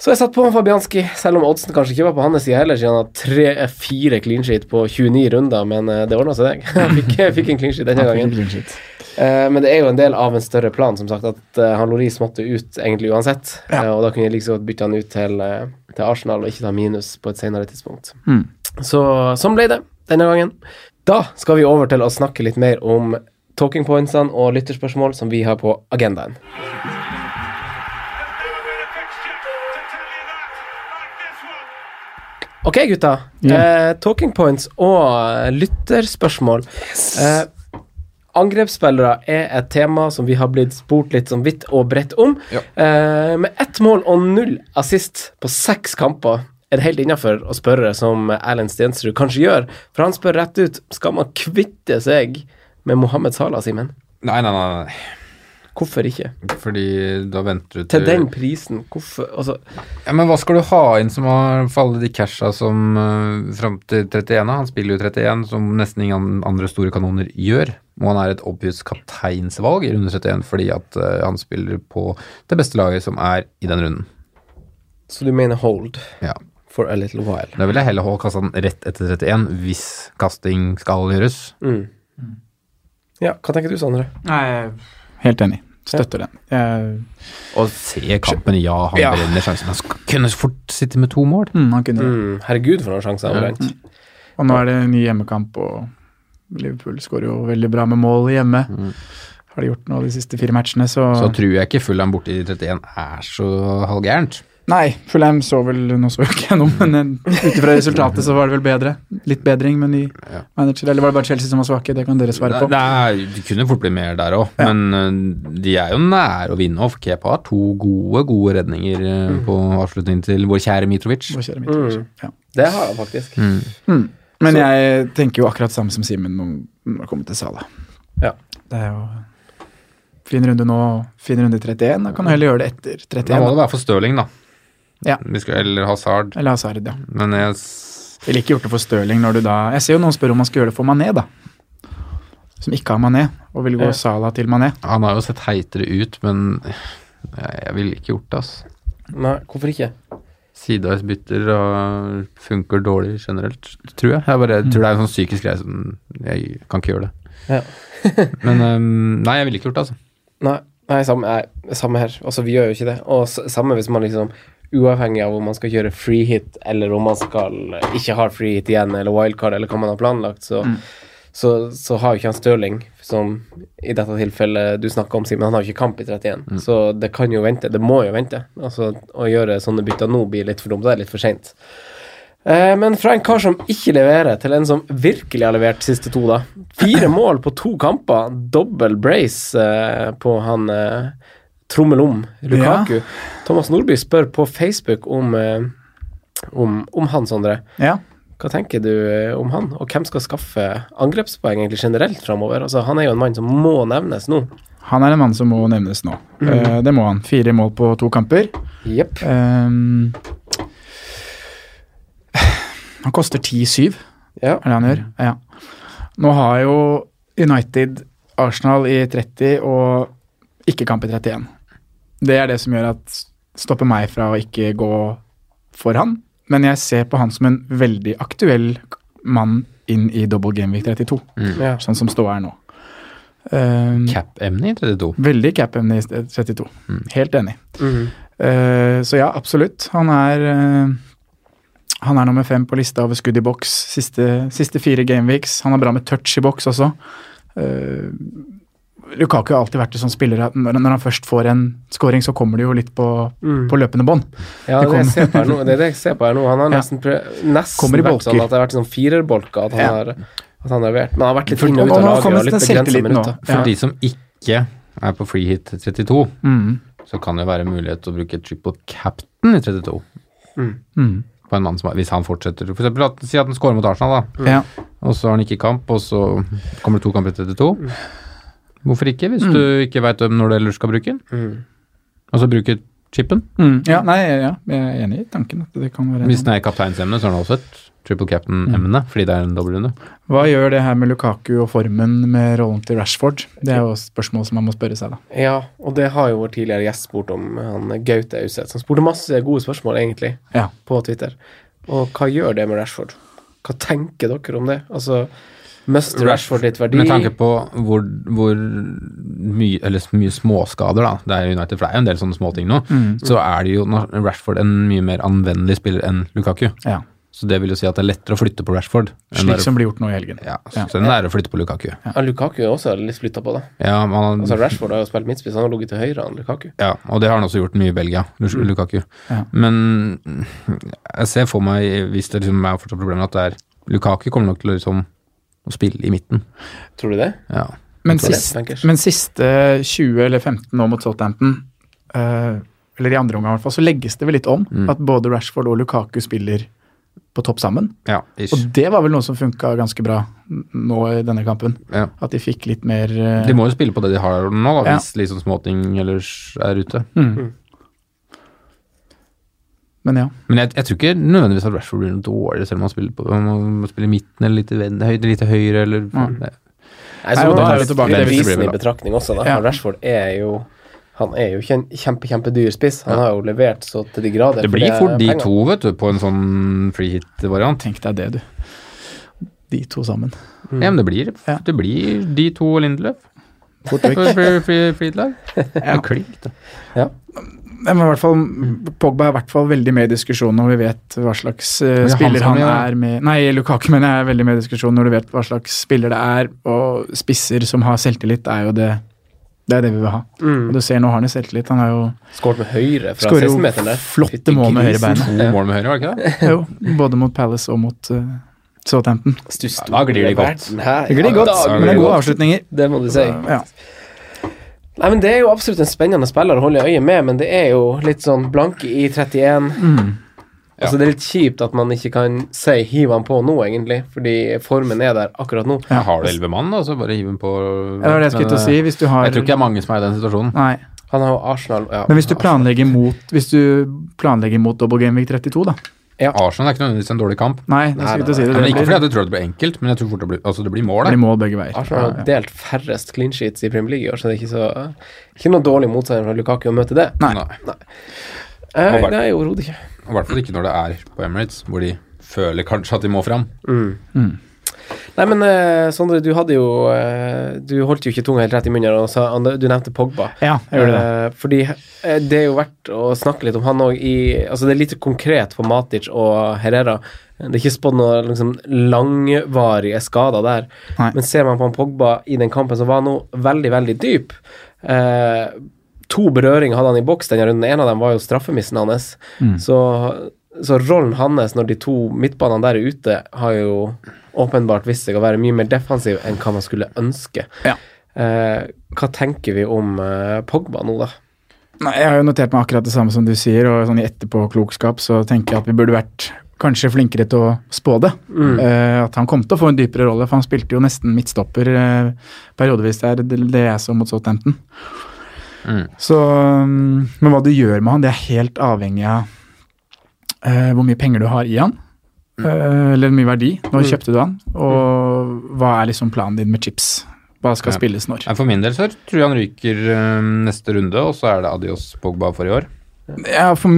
Speaker 3: Så jeg satt på Fabianski, selv om oddsen kanskje ikke var på hans side heller, siden han har tre-fire clean sheet på 29 runder, men eh, det ordna seg, det. Han fikk, fikk en clean sheet denne
Speaker 4: Han fikk
Speaker 3: gangen.
Speaker 4: en clean sheet.
Speaker 3: Eh, men det er jo en del av en større plan, som sagt, at eh, han Loris måtte ut egentlig uansett. Eh, og da kunne jeg like så godt bytte han ut til, eh, til Arsenal og ikke ta minus på et senere tidspunkt. Så sånn ble det denne gangen. Da skal vi over til å snakke litt mer om talking pointsene og lytterspørsmål som vi har på agendaen.
Speaker 5: Never been a fixture to tell you that like this.
Speaker 3: Ok, gutta.
Speaker 4: Ja.
Speaker 3: Eh, talking points og eh, lytterspørsmål. Eh, angrepsspillere er et tema som vi har blitt spurt litt sånn vidt og bredt om.
Speaker 5: Ja.
Speaker 3: Eh, med ett mål og null assist på seks kamper er det helt innafor å spørre som Erlend Stensrud kanskje gjør, for han spør rett ut skal man kvitte seg med Mohammed Salah, Simen.
Speaker 2: Nei, nei, nei. nei.
Speaker 3: Hvorfor ikke?
Speaker 2: Fordi da venter du
Speaker 3: Til den prisen, hvorfor altså,
Speaker 2: Ja, Men hva skal du ha inn som har for alle de casha som uh, fram til 31? da? Han spiller jo 31, som nesten ingen andre store kanoner gjør. Og han er et obvious kapteinsvalg i runde 31 fordi at eh, han spiller på det beste laget som er i den runden.
Speaker 3: Så du mener hold
Speaker 2: Ja.
Speaker 3: for a little while?
Speaker 2: Da vil jeg heller holde kassa rett etter 31 hvis kasting skal gjøres.
Speaker 3: Mm. Ja, hva tenker du, Sondre?
Speaker 4: Mm. Helt enig. Støtter den. Jeg,
Speaker 2: Og se kampen, ja, han
Speaker 4: Ja.
Speaker 2: brenner sjansen. Han sk- kunne fort sitte med to mål.
Speaker 4: mm, han kunne det.
Speaker 3: Mm, herregud, for noen sjanser han brant.
Speaker 4: Og nå er det en ny hjemmekamp, og Liverpool skårer jo veldig bra med mål hjemme. Har de gjort noe de siste fire matchene, så,
Speaker 2: Mm. Så tror jeg ikke Fulham borti 31 er så halvgærent.
Speaker 4: Nei, Fulham så vel Nå så jo ikke jeg noe, men eh, ut ifra resultatet så var det vel bedre. Litt bedring med ny manager. Eller var det bare Chelsea som var svake? Det kan dere svare på.
Speaker 2: Det, er, det kunne fort bli mer der òg, men øh, de er jo nære å vinne. Og Kepa har to gode gode redninger øh,
Speaker 4: Mm.
Speaker 2: på avslutningen til vår kjære Mitrovic.
Speaker 4: Vår kjære Mitrovic. Ja. Mm.
Speaker 3: Det har han faktisk.
Speaker 4: Men jeg tenker jo akkurat samme som Simen om- når det kommer til Sala.
Speaker 3: Ja.
Speaker 4: Det er jo fin runde nå, fin runde 31. Da kan du heller gjøre det etter
Speaker 2: Da må det
Speaker 4: 31.
Speaker 2: være for Stirling, da.
Speaker 4: Ja.
Speaker 2: Vi skal, eller Hazard.
Speaker 4: Eller Hazard, ja.
Speaker 2: Men jeg s-
Speaker 4: Ville ikke gjort det for Stirling når du da Jeg ser jo noen spør om man skal gjøre det for Mané, da. Som ikke har Mané, og vil gå
Speaker 3: Ja.
Speaker 4: Sala til Mané.
Speaker 2: han har jo sett heitere ut, men jeg, jeg ville ikke gjort det, altså.
Speaker 3: Nei, hvorfor ikke?
Speaker 2: Sideveisbytter og funker dårlig generelt, tror jeg. Jeg, bare,
Speaker 4: Mm.
Speaker 2: jeg tror det er en sånn psykisk greie som Jeg kan ikke gjøre det.
Speaker 3: Ja.
Speaker 2: Men øhm, nei, jeg ville ikke gjort det, altså.
Speaker 3: Nei, nei, samme, nei, samme her. Altså, vi gjør jo ikke det. Og s- samme hvis man liksom Uavhengig av om man skal kjøre free hit, eller om man skal eh, ikke har free hit igjen, eller wildcard, eller hva man har planlagt, så, så, så har jo ikke han Stirling, som i dette tilfellet du snakker om, Simen, han har jo ikke kamp i 31, så det kan jo vente. Det må jo vente. Altså, å gjøre sånne bytter nå blir litt for dumt. Det er litt for seint. Eh, Men fra en kar som ikke leverer, til en som virkelig har levert siste to, da. Fire mål på to kamper. Dobbel brace eh, på han eh, trommelom Lukaku. Thomas Nordby spør på Facebook om, eh, om, om han, Sondre.
Speaker 4: Ja.
Speaker 3: Hva tenker du eh, om han, og hvem skal skaffe angrepspoeng egentlig generelt framover? Altså, han er jo en mann som må nevnes nå.
Speaker 4: Han er en mann som må nevnes nå. Eh, det må han. Fire mål på to kamper.
Speaker 3: Jepp.
Speaker 4: Ehm, han koster 10-7,
Speaker 3: Ja.
Speaker 4: er det han gjør. Ja. Nå har jo United Arsenal i 30 og ikke kamp i 31. Det er det som gjør at stopper meg fra å ikke gå for han. Men jeg ser på han som en veldig aktuell mann inn i double game week 32,
Speaker 3: Ja.
Speaker 4: sånn som ståa er nå. Um,
Speaker 2: Cap-emne i 32.
Speaker 4: Veldig cap-emne i sted- 32. Helt enig.
Speaker 3: Mhm.
Speaker 4: Eh, så ja, absolutt. Han er eh, han er nummer fem på lista over skudd i boks siste, siste fire gameweeks. Han er bra med touch i boks også. Eh, Lukaku har alltid vært en sånn spiller at når, når han først får en scoring, så kommer det jo litt på, på løpende bånd.
Speaker 3: Ja,
Speaker 4: Det
Speaker 3: det, er det, jeg
Speaker 4: kommer.
Speaker 3: ser på her nå, det er det jeg ser på her nå. Han har
Speaker 4: Ja.
Speaker 3: nesten, prøv, nesten
Speaker 4: Kommer i
Speaker 3: vært
Speaker 4: bolker.
Speaker 3: sånn at det har vært sånn firerbolker at han
Speaker 4: Ja.
Speaker 3: har at han har levert. Men han har vært litt
Speaker 4: For-
Speaker 3: inn og ut
Speaker 4: og
Speaker 3: av
Speaker 4: nå
Speaker 3: laget
Speaker 4: kommer
Speaker 3: og litt
Speaker 4: den
Speaker 3: begrensa
Speaker 4: selvtilliten nå.
Speaker 3: minutter.
Speaker 2: For
Speaker 4: Ja.
Speaker 2: de som ikke er på free hit 32,
Speaker 4: Mm.
Speaker 2: så kan det være mulighet til å bruke triple captain i 32.
Speaker 4: Mm.
Speaker 2: På en mann som, hvis han fortsetter. For eksempel, at, si at han scorer mot Arsenal, da.
Speaker 4: Ja.
Speaker 2: Og så har han ikke kamp, og så kommer det to kamper i 32. Hvorfor ikke, hvis du ikke veit når du ellers skal bruke den? Og så bruke chipen.
Speaker 4: Mm. ja, nei, ja, jeg er enig i tanken. At det kan være
Speaker 2: Hvis den er kapteinsemne, så er den også et triple captain-emne, fordi det er en dobbeltrunde.
Speaker 4: Hva gjør det her med Lukaku og formen med rollen til Rashford? Det er jo et spørsmål som man må spørre seg, da.
Speaker 3: Ja, og det har jo vår tidligere gjest spurt om, han Gaute Auseth, som spurte masse gode spørsmål, egentlig,
Speaker 4: Ja.
Speaker 3: på Twitter. Og hva gjør det med Rashford? Hva tenker dere om det? Altså, mister Rashford litt verdi?
Speaker 2: Med tanke på hvor, hvor mye, eller så mye småskader, da. Det er United, for det er jo en del Mm.
Speaker 4: Mm.
Speaker 2: sånne småting nå. Så er det jo nå- Rashford en mye mer anvendelig spiller enn Lukaku.
Speaker 4: Ja.
Speaker 2: Så det vil jo si at det er lettere å flytte på Rashford. enn det
Speaker 4: Slik
Speaker 2: er å-
Speaker 4: som blir gjort nå i helgen.
Speaker 2: ja, så så enn det er å flytte på Lukaku. Ja,
Speaker 3: Ja, Lukaku er også litt flytta på, da.
Speaker 2: man,
Speaker 3: Altså, Rashford har jo spilt midtspiss, han har ligget til høyre enn Lukaku.
Speaker 2: ja, og det har han også gjort mye i Belgia, Lus- Lukaku.
Speaker 4: Mm. Ja.
Speaker 2: Men mm, jeg ser for meg, hvis det liksom er fortsatt problemer, at det er Lukaku kommer nok til å liksom å spille i midten.
Speaker 3: Tror du det?
Speaker 2: Ja.
Speaker 4: Men,
Speaker 3: Tror det,
Speaker 4: sist,
Speaker 3: bankers.
Speaker 4: men siste 20 eller 15 nå mot Southampton, eh, eller i andre omgang i hvert fall, så legges det vel litt om
Speaker 2: Mm.
Speaker 4: at både Rashford og Lukaku spiller på topp sammen.
Speaker 2: Ja,
Speaker 4: Og
Speaker 2: ish.
Speaker 4: det var vel noe som funka ganske bra n- nå i denne kampen.
Speaker 2: Ja.
Speaker 4: At de fikk litt mer eh,
Speaker 2: De må jo spille på det de har nå, da,
Speaker 4: Ja.
Speaker 2: hvis liksom småting ellers er ute.
Speaker 4: Men ja.
Speaker 2: Men jeg, jeg tror ikke nødvendigvis at Rashford blir noe dårligere, selv om han spiller, på, om han spiller i midten eller litt, ven, høy, litt til høyre eller Nei.
Speaker 3: Nei,
Speaker 4: Nei,
Speaker 3: så må
Speaker 4: men
Speaker 3: man
Speaker 4: da
Speaker 3: ta
Speaker 4: er vi tilbake til det
Speaker 2: vi
Speaker 3: prisen i
Speaker 2: blir med, da.
Speaker 3: betraktning også, da.
Speaker 4: Ja.
Speaker 3: For Rashford er jo han er jo kjen- kjempe, kjempedyr spiss. Han har jo levert så til de grader.
Speaker 2: Det
Speaker 3: for
Speaker 2: blir
Speaker 3: er
Speaker 2: fort de
Speaker 3: penger.
Speaker 2: to, vet du, på en sånn free hit-variant.
Speaker 4: Tenk deg det, du. De to sammen.
Speaker 2: Ja, men det blir,
Speaker 4: Mm. Ja.
Speaker 2: det blir de to og Lindeløf. Fort
Speaker 4: vekk.
Speaker 2: free, free, free hit-lag. Ja. Klink, da.
Speaker 4: Nei, Men i hvert fall, Pogba er i hvert fall veldig med i diskusjonen når vi vet hva slags eh,
Speaker 2: Men det er han
Speaker 4: spiller
Speaker 2: som
Speaker 4: han
Speaker 2: er-
Speaker 4: er med Nei, Lukaku mener jeg er veldig med i diskusjonen når du vet hva slags spiller det er. Og spisser som har selvtillit, det er jo det det er det vi vil ha. Og du ser nå har han jo selvtillit. Han har jo
Speaker 3: Skåret med høyre fra
Speaker 4: skårer
Speaker 3: 16-meteren
Speaker 4: jo
Speaker 3: der.
Speaker 4: flotte mål med høyrebeinet.
Speaker 2: To mål med høyre, var det ikke det?
Speaker 4: Jo, både mot Palace og mot uh, Southampton.
Speaker 2: da glir de godt.
Speaker 3: Nei,
Speaker 4: Det glir godt,
Speaker 3: da
Speaker 4: men det er
Speaker 2: glir
Speaker 4: gode
Speaker 2: godt.
Speaker 4: avslutninger.
Speaker 3: Det må du si.
Speaker 4: Ja.
Speaker 3: Nei, men Det er jo absolutt en spennende spiller å holde øye med, men det er jo litt sånn blanke i 31.
Speaker 4: Mm.
Speaker 3: Altså Det er litt kjipt at man ikke kan si 'hiv han på nå', egentlig, fordi formen er der akkurat nå.
Speaker 2: Jeg har du elleve mann, da, så bare hiv den på.
Speaker 4: Det var det jeg skulle til å si. Hvis du har
Speaker 2: Jeg tror ikke det er mange som er i den situasjonen.
Speaker 4: Nei.
Speaker 3: Han har jo Arsenal ja,
Speaker 4: Men hvis du
Speaker 3: Arsenal.
Speaker 4: planlegger mot Hvis du planlegger mot Double Game Week 32, da
Speaker 2: Arsenal er ikke nødvendigvis en dårlig kamp.
Speaker 4: Nei, det
Speaker 3: Nei,
Speaker 4: skulle jeg til å si
Speaker 2: Ja,
Speaker 4: det.
Speaker 2: men
Speaker 4: Det
Speaker 2: ikke
Speaker 4: blir,
Speaker 2: fordi at jeg tror at det blir enkelt, men jeg tror fort det blir, altså det blir mål.
Speaker 4: det
Speaker 2: da.
Speaker 4: blir mål begge veier.
Speaker 3: Arsenal har jo delt færrest clean sheets i Premier League i år, så det er ikke så Ikke noe dårlig motstander fra Lukaku å møte det.
Speaker 4: Nei.
Speaker 3: Eh,
Speaker 2: Og bare-
Speaker 3: nei, overhodet ikke.
Speaker 2: Og I hvert fall ikke når det er på Emirates, hvor de føler kanskje at de må fram.
Speaker 3: Nei, men eh, Sondre, du hadde jo eh, Du holdt jo ikke tunga helt rett i munnen, og sa, du nevnte Pogba.
Speaker 4: Ja, jeg gjorde det.
Speaker 3: Eh, fordi eh, det er jo verdt å snakke litt om han òg i Altså, det er lite konkret på Matic og Herrera. Det er ikke spådd noen liksom, langvarige skader der.
Speaker 4: Nei.
Speaker 3: Men ser man på han Pogba i den kampen som var nå, veldig, veldig dyp eh, To berøringer hadde han i boks denne runden. En av dem var jo straffemissen hans. Så, så rollen hans når de to midtbanene der er ute, har jo åpenbart vist seg å være mye mer defensiv enn hva man skulle ønske.
Speaker 4: Ja.
Speaker 3: Eh, hva tenker vi om eh, Pogba nå, da?
Speaker 4: Nei, jeg har jo notert meg akkurat det samme som du sier, og sånn i etterpåklokskap så tenker jeg at vi burde vært kanskje flinkere til å spå det.
Speaker 2: Mm.
Speaker 4: Eh, at han kom til å få en dypere rolle, for han spilte jo nesten midtstopper eh, periodevis der, det, det jeg så mot Southampton. Så, mm, men hva du gjør med han, det er helt avhengig av eh, hvor mye penger du har i han.
Speaker 2: Mm.
Speaker 4: Eh, eller hvor mye verdi. Nå kjøpte du han, og hva er liksom planen din med chips? Hva skal
Speaker 2: Ja.
Speaker 4: spilles når?
Speaker 2: Nei, For min del så tror jeg han ryker øhm, neste runde, og så er det adios Pogba for i år.
Speaker 4: Ja, for,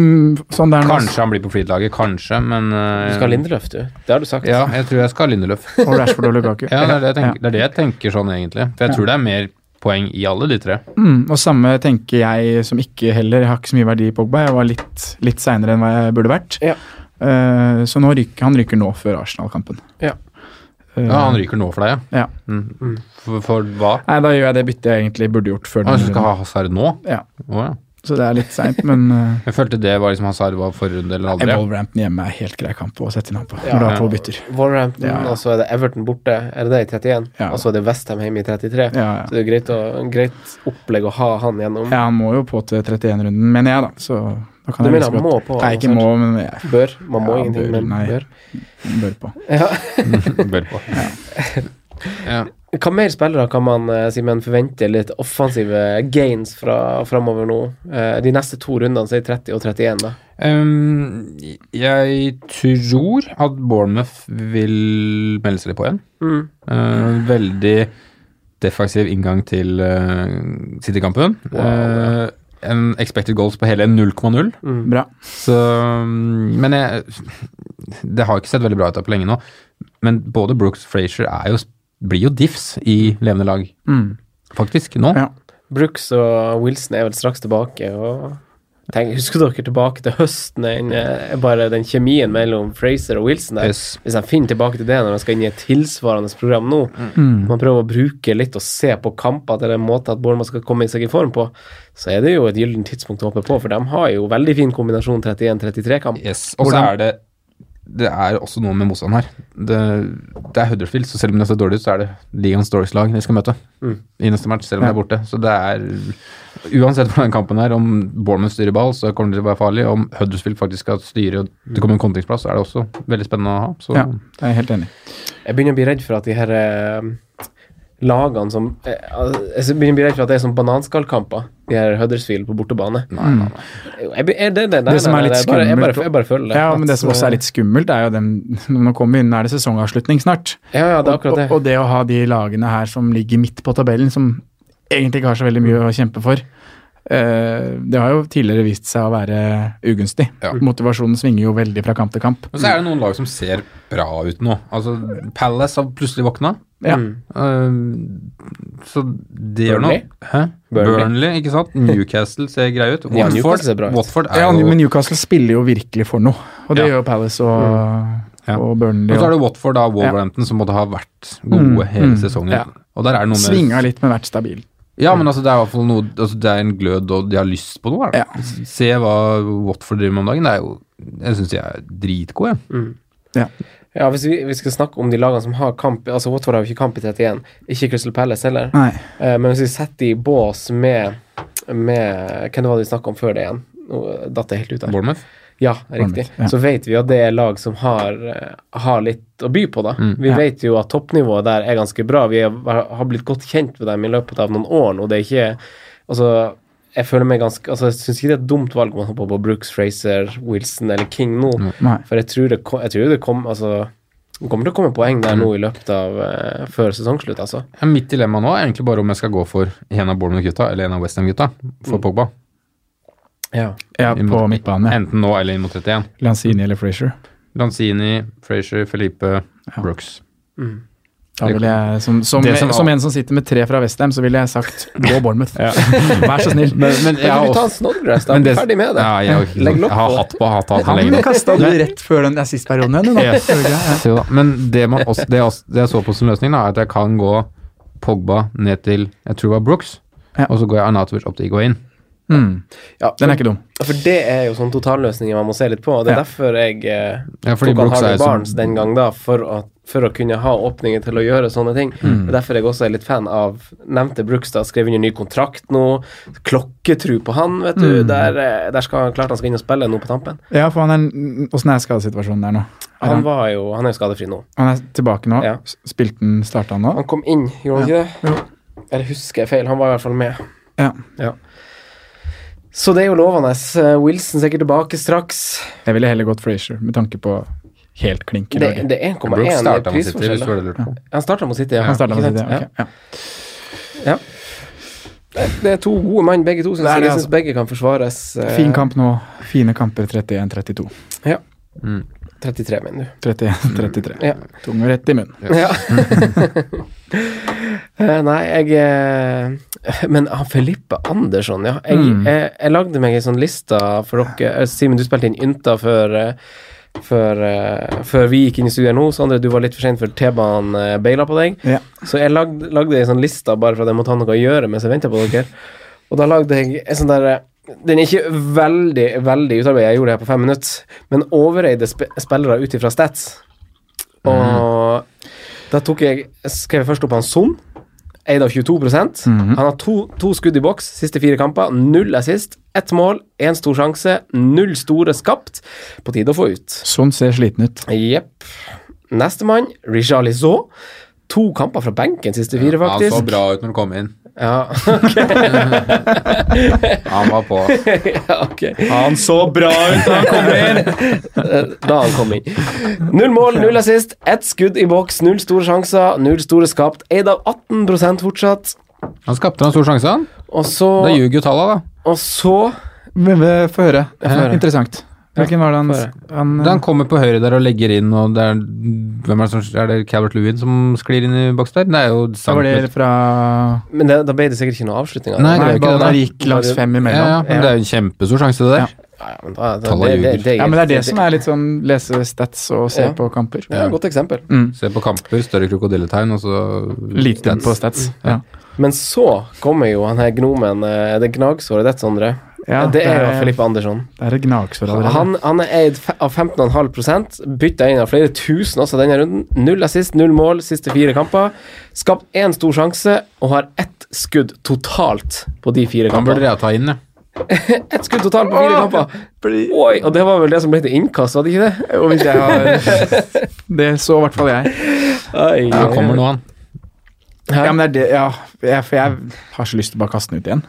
Speaker 4: sånn det er nå,
Speaker 2: Kanskje han blir på Freed-laget, kanskje, men øh,
Speaker 3: Du skal ha Lindeløf, du. Det har du sagt.
Speaker 2: Ja, jeg tror jeg skal ha Lindeløf.
Speaker 4: og Rashford og Lukaku.
Speaker 2: Ja, det er det, jeg tenker, det er det jeg tenker sånn, egentlig. For jeg tror det er mer poeng i alle de tre.
Speaker 4: Mm, og samme tenker jeg som ikke heller. Jeg har ikke så mye verdi i Pogba. Jeg var litt, litt seinere enn hva jeg burde vært.
Speaker 3: Ja.
Speaker 4: Eh, så nå ryker, han ryker nå før Arsenal-kampen.
Speaker 3: Ja.
Speaker 4: Eh,
Speaker 2: Ja, Han ryker nå for deg,
Speaker 4: Ja.
Speaker 2: Mm. For, for hva?
Speaker 4: Nei, da gjør jeg det byttet jeg egentlig burde gjort før
Speaker 2: Han
Speaker 4: den
Speaker 2: skal
Speaker 4: runden.
Speaker 2: ha Hazard nå?
Speaker 4: Ja.
Speaker 2: Å, ja.
Speaker 4: Så det er litt seint, men uh,
Speaker 2: Jeg følte det var liksom Hazard var forrige runde eller aldri.
Speaker 4: Wolverhampton hjemme er helt grei kamp å sette inn han på.
Speaker 3: Ja.
Speaker 4: Når du har to bytter.
Speaker 3: Wolverhampton,
Speaker 4: Ja, ja.
Speaker 3: og så er det Everton borte. Er det det i 31?
Speaker 4: Ja.
Speaker 3: Og så er det Westham hjemme i 33.
Speaker 4: Ja,
Speaker 3: Så
Speaker 4: ja.
Speaker 3: det er jo greit, å, greit opplegg å ha han gjennom.
Speaker 4: ja, han må jo på til 31-runden, mener jeg, da. Så da kan
Speaker 3: Du
Speaker 4: jeg
Speaker 3: mener han
Speaker 4: like
Speaker 3: må
Speaker 4: godt-
Speaker 3: på?
Speaker 4: Nei, ikke
Speaker 3: Hazard?
Speaker 4: må, men jeg
Speaker 3: Bør. Man må
Speaker 4: Ja,
Speaker 3: ingenting,
Speaker 4: bør,
Speaker 3: men
Speaker 4: nei.
Speaker 3: bør.
Speaker 4: bør på.
Speaker 2: Bør på. Ja.
Speaker 3: Hva mer spillere kan man eh, Simen, forvente litt offensive gains fra framover nå? Eh, de neste to rundene så er det 30 og 31, da.
Speaker 2: Ehm, jeg tror at Bournemouth vil melde seg litt på igjen. Ehm, veldig defensiv inngang til eh, City-kampen. Ehm, en expected goals på hele 0,0.
Speaker 4: Bra.
Speaker 2: Så, mm, Men jeg, det har ikke sett veldig bra ut her på lenge nå. Men både Brooks og Frazier er jo, blir jo diffs i levende lag, faktisk, nå.
Speaker 4: Ja.
Speaker 3: Brooks og Wilson er vel straks tilbake, og Tenk, husker dere tilbake til høsten, den, eh, bare den kjemien mellom Fraser og Wilson der?
Speaker 2: Yes.
Speaker 3: Hvis de finner tilbake til det når de skal inn i et tilsvarende program nå,
Speaker 4: Mm.
Speaker 3: man prøver å bruke litt og se på kamper til den måten at Bournemouth skal komme seg i form på, så er det jo et gyllent tidspunkt å håpe på, for de har jo veldig fin kombinasjon 31-33-kamp.
Speaker 2: Yes. Og så
Speaker 3: Hvordan-
Speaker 2: er det det er også noe med motstand her. Det, det er Huddersfield, så selv om det ser dårlig ut, så er det ligaens dårligste lag de skal møte i neste match, selv om det er borte. Så det er Uansett hvordan kampen er, om Bournemouth styrer ball, så kommer det til å være farlig. Om Huddersfield faktisk skal styre og det kommer en kontringsplass, så er det også veldig spennende å ha. Så
Speaker 4: Ja, det er jeg helt enig i.
Speaker 3: Jeg begynner å bli redd for at de her eh, lagene som eh, al- Jeg begynner å bli redd for at det er som bananskallkamper, de her Huddersfield på bortebane. Jo, Jeg, be- er det, det, nei,
Speaker 4: som
Speaker 3: nei,
Speaker 4: er
Speaker 3: nei,
Speaker 4: litt
Speaker 3: jeg bare- Jeg bare,
Speaker 4: skummelt-
Speaker 3: jeg bare føler det.
Speaker 4: Ja, men
Speaker 3: at,
Speaker 4: det som også er litt skummelt, er jo den Nå kommer vi inn, nå er det sesongavslutning snart.
Speaker 3: Ja, ja, det er akkurat det.
Speaker 4: Og, og det å ha de lagene her som ligger midt på tabellen, som egentlig ikke har så veldig mye å kjempe for, eh, det har jo tidligere vist seg å være ugunstig.
Speaker 2: Ja.
Speaker 4: Motivasjonen svinger jo veldig fra kamp til kamp.
Speaker 2: Men så er det noen lag som ser bra ut nå. Altså, Palace har plutselig våkna.
Speaker 4: Ja.
Speaker 3: Mm.
Speaker 2: Eh, så det gjør noe.
Speaker 3: Burnley?
Speaker 2: Hæ?
Speaker 3: Burnley.
Speaker 2: Burnley. ikke sant? Newcastle ser greie ut.
Speaker 3: Ja, Newcastle
Speaker 2: Watford,
Speaker 3: ser bra ut.
Speaker 2: Watford er
Speaker 4: Ja,
Speaker 2: jo
Speaker 4: men Newcastle spiller jo virkelig for noe, og det
Speaker 2: Ja.
Speaker 4: gjør Palace og,
Speaker 3: Mm.
Speaker 2: Ja.
Speaker 4: og
Speaker 2: Men
Speaker 4: Burnley.
Speaker 2: så er
Speaker 4: Og
Speaker 2: det Watford da, Wolverhampton, som måtte ha vært gode hele sesongen.
Speaker 4: Ja.
Speaker 2: Og der er det noe med
Speaker 4: svinga litt, men vært stabil.
Speaker 2: Ja, men altså, det er i hvert fall noe altså, Det er en glød, og de har lyst på noe. da.
Speaker 4: Ja.
Speaker 2: Se hva Watford driver med om dagen. Det er jo Jeg syns de er dritgode. jeg.
Speaker 3: Ja, hvis vi, vi skal snakke om de lagene som har kamp Altså Watford har jo ikke kamp i 31, ikke Crystal Palace heller.
Speaker 4: Nei.
Speaker 3: Eh, men hvis vi setter de i bås med, med Hvem det var det vi snakka om før det igjen? Nå datt jeg helt ut der.
Speaker 2: Bournemouth.
Speaker 3: Ja, riktig.
Speaker 4: ja.
Speaker 3: Så vet vi at det er lag som har, eh, har litt å by på, da.
Speaker 4: Mm,
Speaker 3: vi vet jo at toppnivået der er ganske bra. Vi er, har blitt godt kjent med dem i løpet av noen år nå. Det er ikke Altså, jeg føler meg ganske Altså, jeg syns ikke det er et dumt valg om man hopper på Brooks, Fraser, Wilson eller King nå.
Speaker 4: Nei.
Speaker 3: For jeg tror det, kom, jeg tror det kom, altså, det kommer til å komme poeng der nå i løpet av eh, før sesongslutt, altså.
Speaker 2: Ja, Mitt dilemma nå er egentlig bare om jeg skal gå for en av Bournemouth-gutta eller en av Westham-gutta for Pogba.
Speaker 3: Ja.
Speaker 4: Ja,
Speaker 2: Inn
Speaker 4: på
Speaker 2: mot-
Speaker 4: midtbane.
Speaker 2: Enten nå eller inn mot 31.
Speaker 4: Lanzini eller Frazier.
Speaker 2: Lanzini, Frazier, Felipe, Brooks.
Speaker 4: Da vil jeg, som, som,
Speaker 2: Det
Speaker 4: som,
Speaker 2: som-
Speaker 4: en som sitter med tre fra Westham, så ville jeg sagt gå Bournemouth. Vær så snill.
Speaker 2: Men jeg
Speaker 3: Men
Speaker 2: har
Speaker 3: vi tar
Speaker 2: også
Speaker 3: en Snodgrass, da. Vi er Ferdig med det.
Speaker 2: Ja, jeg, har ikke-
Speaker 3: Legg lokk
Speaker 2: jeg har
Speaker 3: på.
Speaker 2: hatt på hatt, hatt, hatt
Speaker 4: Han
Speaker 2: lenge.
Speaker 4: kasta du rett før den assist-perioden igjen, du, da.
Speaker 2: Yes. Jo da. Men det, man også, det, jeg også, det jeg så på som løsning, da, er at jeg kan gå Pogba ned til jeg tror det var Brooks,
Speaker 4: Ja.
Speaker 2: og så går jeg Arnatovic opp til Iguain.
Speaker 4: Mm.
Speaker 3: Ja,
Speaker 4: Den er ikke dum.
Speaker 3: For det er jo sånn totalløsninger man må se litt på. og Det er
Speaker 4: Ja.
Speaker 3: derfor jeg eh,
Speaker 2: Ja, fordi
Speaker 3: tok han
Speaker 2: Brooks er
Speaker 3: Harvey
Speaker 2: jo så-
Speaker 3: Barnes den gang, da, for å, for å kunne ha åpninger til å gjøre sånne ting.
Speaker 2: Mm.
Speaker 3: Det er derfor jeg også er litt fan av nevnte Brooks, da, skrev under ny kontrakt nå. Klokketru på han, vet
Speaker 2: Mm.
Speaker 3: du. Der, eh, der skal han klart han skal inn og spille nå på tampen.
Speaker 4: Ja, for han er, Åssen er skadesituasjonen der nå? Er
Speaker 3: Han
Speaker 4: han,
Speaker 3: var jo, han er jo skadefri nå.
Speaker 4: han er tilbake nå?
Speaker 3: Ja.
Speaker 4: S- Spilte han Starta han nå?
Speaker 3: Han kom inn, gjorde han ikke det? Eller husker jeg feil? Han var i hvert fall med.
Speaker 4: Ja.
Speaker 3: Så det er jo lovende. Eh, Wilson sikkert tilbake straks.
Speaker 4: Jeg ville heller gått Frazier, med tanke på helt klink i
Speaker 3: Det,
Speaker 4: laget.
Speaker 3: det er 1,1
Speaker 2: Brooks
Speaker 3: i
Speaker 2: starta med City, hvis du
Speaker 3: prisforskjell.
Speaker 2: hadde lurt på.
Speaker 3: Han starta med City, ja.
Speaker 4: Han starta
Speaker 3: Ikke
Speaker 4: med
Speaker 3: sant?
Speaker 4: det.
Speaker 3: Ja.
Speaker 4: ok, Ja.
Speaker 3: Det er to gode mann, begge to. Synes
Speaker 4: Det er
Speaker 3: jeg.
Speaker 4: det,
Speaker 3: jeg synes
Speaker 4: altså.
Speaker 3: begge kan forsvares. eh,
Speaker 4: Fin kamp nå. Fine kamper 31-32.
Speaker 3: Ja.
Speaker 2: Mm.
Speaker 3: 33, mener du.
Speaker 4: 31-33.
Speaker 3: Ja.
Speaker 4: Tunge rett i munnen.
Speaker 3: ja. Eh, Nei, jeg eh, Men han Felippe Andersson, ja. Jeg, jeg, jeg lagde meg ei sånn liste for dere. Eh, Simen, du spilte inn Ynta før, eh, før, eh, før vi gikk inn i studio nå. Sondre, du var litt for sein før T-banen eh, beila på deg.
Speaker 4: Ja.
Speaker 3: Så jeg lagde, lagde ei sånn liste bare for at jeg måtte ha noe å gjøre mens jeg venta på dere. Og da lagde jeg en sånn derre Den er ikke veldig, veldig utarbeidet, jeg gjorde det her på fem minutter, men overeide sp spillere ut ifra stats. Og da tok jeg skrev jeg først opp han Son. Eid av 22 Han har to, to skudd i boks siste fire kamper. Null assist. Ett mål, én stor sjanse. Null store skapt. På tide å få ut.
Speaker 4: Sånn ser sliten ut.
Speaker 3: Jepp. Nestemann, Rijal Lizot. To kamper fra benken siste fire,
Speaker 2: Han
Speaker 3: faktisk.
Speaker 2: så bra ut når han kom inn.
Speaker 3: Ja,
Speaker 2: Han var på.
Speaker 3: ja, ok. Han så bra ut da han kom inn! da han kom inn. Null mål, null assist, ett skudd i boks, null store sjanser, null store skapt. Eid av 18 fortsatt.
Speaker 2: Han skapte en stor sjanse, han.
Speaker 3: Og
Speaker 2: Da
Speaker 3: så,
Speaker 2: ljuger jo tallene, da.
Speaker 3: og så
Speaker 4: Men, men, Få høre.
Speaker 3: høre.
Speaker 4: Interessant. Hvilken var det han,
Speaker 3: får
Speaker 4: han eh,
Speaker 2: Den kommer på høyre der og legger inn, og det er Hvem er det som Er det Calvert Lewin som sklir inn i boks der? Det er jo
Speaker 4: Da var det
Speaker 2: centimeter.
Speaker 4: fra
Speaker 3: Men det, da ble det sikkert ikke noe avslutning. av det.
Speaker 2: Nei,
Speaker 4: Nei,
Speaker 2: det er jo ikke
Speaker 4: ballen
Speaker 2: det, nei.
Speaker 4: gikk langs
Speaker 2: Ja,
Speaker 4: fem
Speaker 2: ja,
Speaker 4: imellom.
Speaker 2: men det er jo en kjempestor sjanse, det der.
Speaker 3: Ja, men da, da,
Speaker 2: Tallet
Speaker 3: det, det,
Speaker 2: ljuger.
Speaker 3: det,
Speaker 4: Ja, men det er det som er litt sånn lese stats og se
Speaker 3: Ja.
Speaker 4: på kamper. Mm.
Speaker 3: Ja, godt eksempel.
Speaker 2: Se på kamper, større krokodilletegn, og så
Speaker 4: Lite
Speaker 2: Stats.
Speaker 4: på stats. Ja.
Speaker 3: Men så kommer jo han her gnomen, eh, det gnagsåret ditt, Sondre.
Speaker 4: Ja,
Speaker 3: det er jo
Speaker 4: det er-
Speaker 3: Filippe Andersson.
Speaker 4: Det er et gnagsår allerede.
Speaker 3: Han, han er eid fe- av 15,5 bytta inn av flere tusen også denne runden. Null assist, null mål, siste fire kamper. Skapt én stor sjanse og har ett skudd totalt på de fire
Speaker 2: Han burde
Speaker 3: kampene.
Speaker 2: jeg ta inn, ja.
Speaker 3: Ett skudd totalt på fire kamper! Oi, og det var vel det som ble til innkast, var det ikke det?
Speaker 4: Og hvis jeg har Det så i hvert fall jeg.
Speaker 3: Oi,
Speaker 2: Han kommer nå, han.
Speaker 4: Ja, men det er det, ja, jeg, for jeg har så lyst til å bare kaste den ut igjen.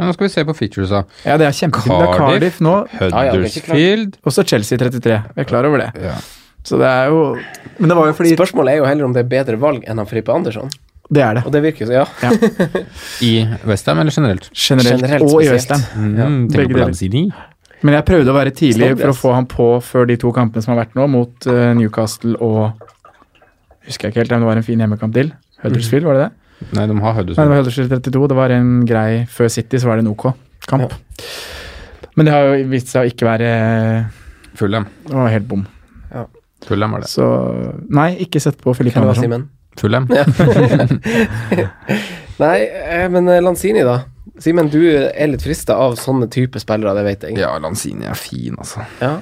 Speaker 2: Ja, nå skal vi se på features, da.
Speaker 4: Ja, det er kjempefint. Det er
Speaker 2: Cardiff.
Speaker 4: Cardiff nå,
Speaker 3: ja, det er ikke klart.
Speaker 2: Huddersfield
Speaker 4: og så Chelsea 33. Vi er klar over det.
Speaker 2: Ja.
Speaker 4: Så det er jo Men det var jo fordi
Speaker 3: Spørsmålet er jo heller om det er bedre valg enn han Filippe Andersson.
Speaker 4: Det er det.
Speaker 3: Og det virker jo så, ja.
Speaker 2: i Westham, eller generelt?
Speaker 4: Generelt,
Speaker 3: Generelt
Speaker 4: og i
Speaker 3: spesielt.
Speaker 4: Westham.
Speaker 2: Mm,
Speaker 4: begge
Speaker 2: tenker på
Speaker 4: deler.
Speaker 2: Lanzini.
Speaker 4: Men jeg prøvde å være tidlig
Speaker 3: Stopp,
Speaker 4: for å
Speaker 3: yes.
Speaker 4: få han på før de to kampene som har vært nå, mot eh, Newcastle og Husker jeg ikke helt, men det var en fin hjemmekamp til. Huddersfield, var det det?
Speaker 2: Nei, de har
Speaker 4: Nei, det
Speaker 2: Huddersfield.
Speaker 4: var Huddersfield 32. Det var en grei Før City, så var det en OK kamp. Men det har jo vist seg å ikke være eh,
Speaker 2: Fulham.
Speaker 4: Det var helt bom.
Speaker 2: Fulham var det.
Speaker 4: Så nei, ikke sett på Filip
Speaker 3: Hvem var
Speaker 4: Andersson.
Speaker 3: Simen?
Speaker 2: Fulham.
Speaker 3: Nei, eh, men eh, Lanzini, da. Simen, du er litt frista av sånne type spillere, det vet jeg.
Speaker 2: Ja, Lanzini er fin, altså.
Speaker 3: Ja.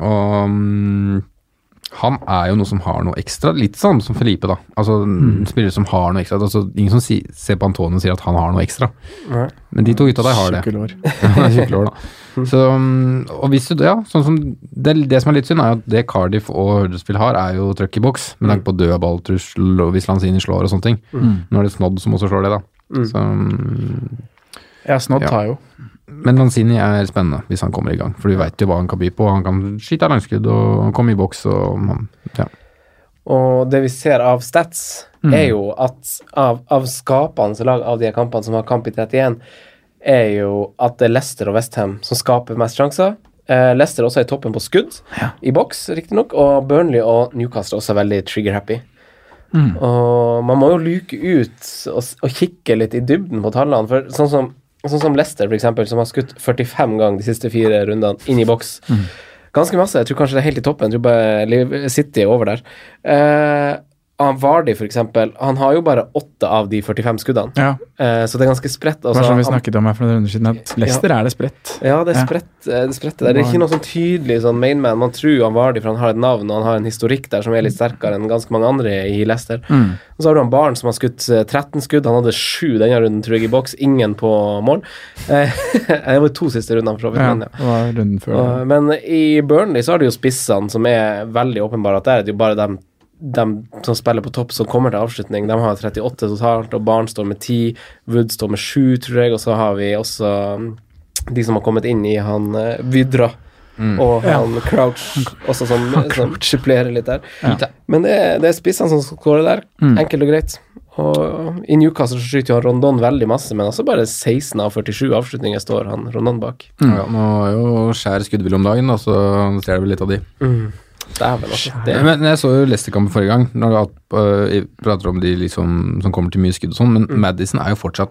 Speaker 2: Og mm, han er jo noe som har noe ekstra. Litt sånn som Felipe, da. Altså en spiller som har noe ekstra. Altså, ingen som si, ser på Antonio og sier at han har noe ekstra.
Speaker 3: Nei.
Speaker 2: Men de to gutta der har det.
Speaker 4: Sykkelår.
Speaker 2: Han er tjukkelår, da. Så, mm, og hvis du, ja, sånn som det, det som er litt synd, er jo at det Cardiff og Huddersfield har, er jo trøkk i boks, med tanke på død balltrussel og hvis Lanzini slår og sånne ting. Nå er det Snodd som også slår det, da. Så, mm,
Speaker 4: Ja, Snodd
Speaker 2: Ja.
Speaker 4: tar jo.
Speaker 2: men Lanzini er spennende hvis han kommer i gang, for du veit jo hva han kan by på. Han kan skyte av langskudd og komme i boks og han- ja.
Speaker 3: Og det vi ser av stats, er jo at av, av skapende lag av de her kampene som har kamp i 31, er jo at det er Leicester og Westham som skaper mest sjanser. Eh, Leicester også er i toppen på skudd, i boks riktignok, og Burnley og Newcastle også er veldig trigger-happy.
Speaker 4: Mm.
Speaker 3: Og man må jo luke ut og, s- og kikke litt i dybden på tallene. For sånn som, sånn som Leicester, for eksempel, som har skutt 45 ganger de siste fire rundene inn i boks.
Speaker 4: Mm.
Speaker 3: Ganske masse. Jeg tror kanskje det er helt i toppen. Jeg tror bare Liv- City er over der. Eh, han Vardy, for eksempel, han har jo bare åtte av de 45 skuddene.
Speaker 4: Ja,
Speaker 3: Eh, så det er ganske spredt.
Speaker 4: det
Speaker 3: Altså,
Speaker 4: var som vi
Speaker 3: han-
Speaker 4: snakket om her for noen runder siden, at Leicester er det spredt.
Speaker 3: ja, det er
Speaker 4: Ja.
Speaker 3: spredt, eh, det er spredt der. Det er ikke noe sånn tydelig sånn mainman. Man tror jo han Vardy, for han har et navn og han har en historikk der som er litt sterkere enn ganske mange andre i Leicester.
Speaker 4: Mm.
Speaker 3: Og så har du han Barnes som har skutt eh, 13 skudd. Han hadde sju denne runden, tror jeg, i boks. Ingen på mål. Eh, det var de to siste rundene, for så vidt.
Speaker 4: Ja,
Speaker 3: men ja.
Speaker 4: det var runden før.
Speaker 3: Og- Men i Burnley så har du jo spissene som er veldig åpenbare at der er det jo bare dem, dem som spiller på topp som kommer til avslutning. De har 38 totalt, og Barn står med 10, Wood står med 7, tror jeg, og så har vi også mm, de som har kommet inn i han eh, Vydra. Og han Crouch også, som, som supplerer litt der. Men det er, det er spissene som skårer der, enkelt og greit. Og i Newcastle så skyter jo han Rondon veldig masse, men også bare 16 av 47 avslutninger står han Rondon bak.
Speaker 2: ja. Nå er jo skjær skuddvill om dagen, da, så ser du vel litt av de.
Speaker 3: Dæven, altså. Det
Speaker 2: Ja, Men jeg så jo Leicester-kampen forrige gang, når du at- øh, jeg prater om de liksom, som kommer til mye skudd og sånn, men Madison er jo fortsatt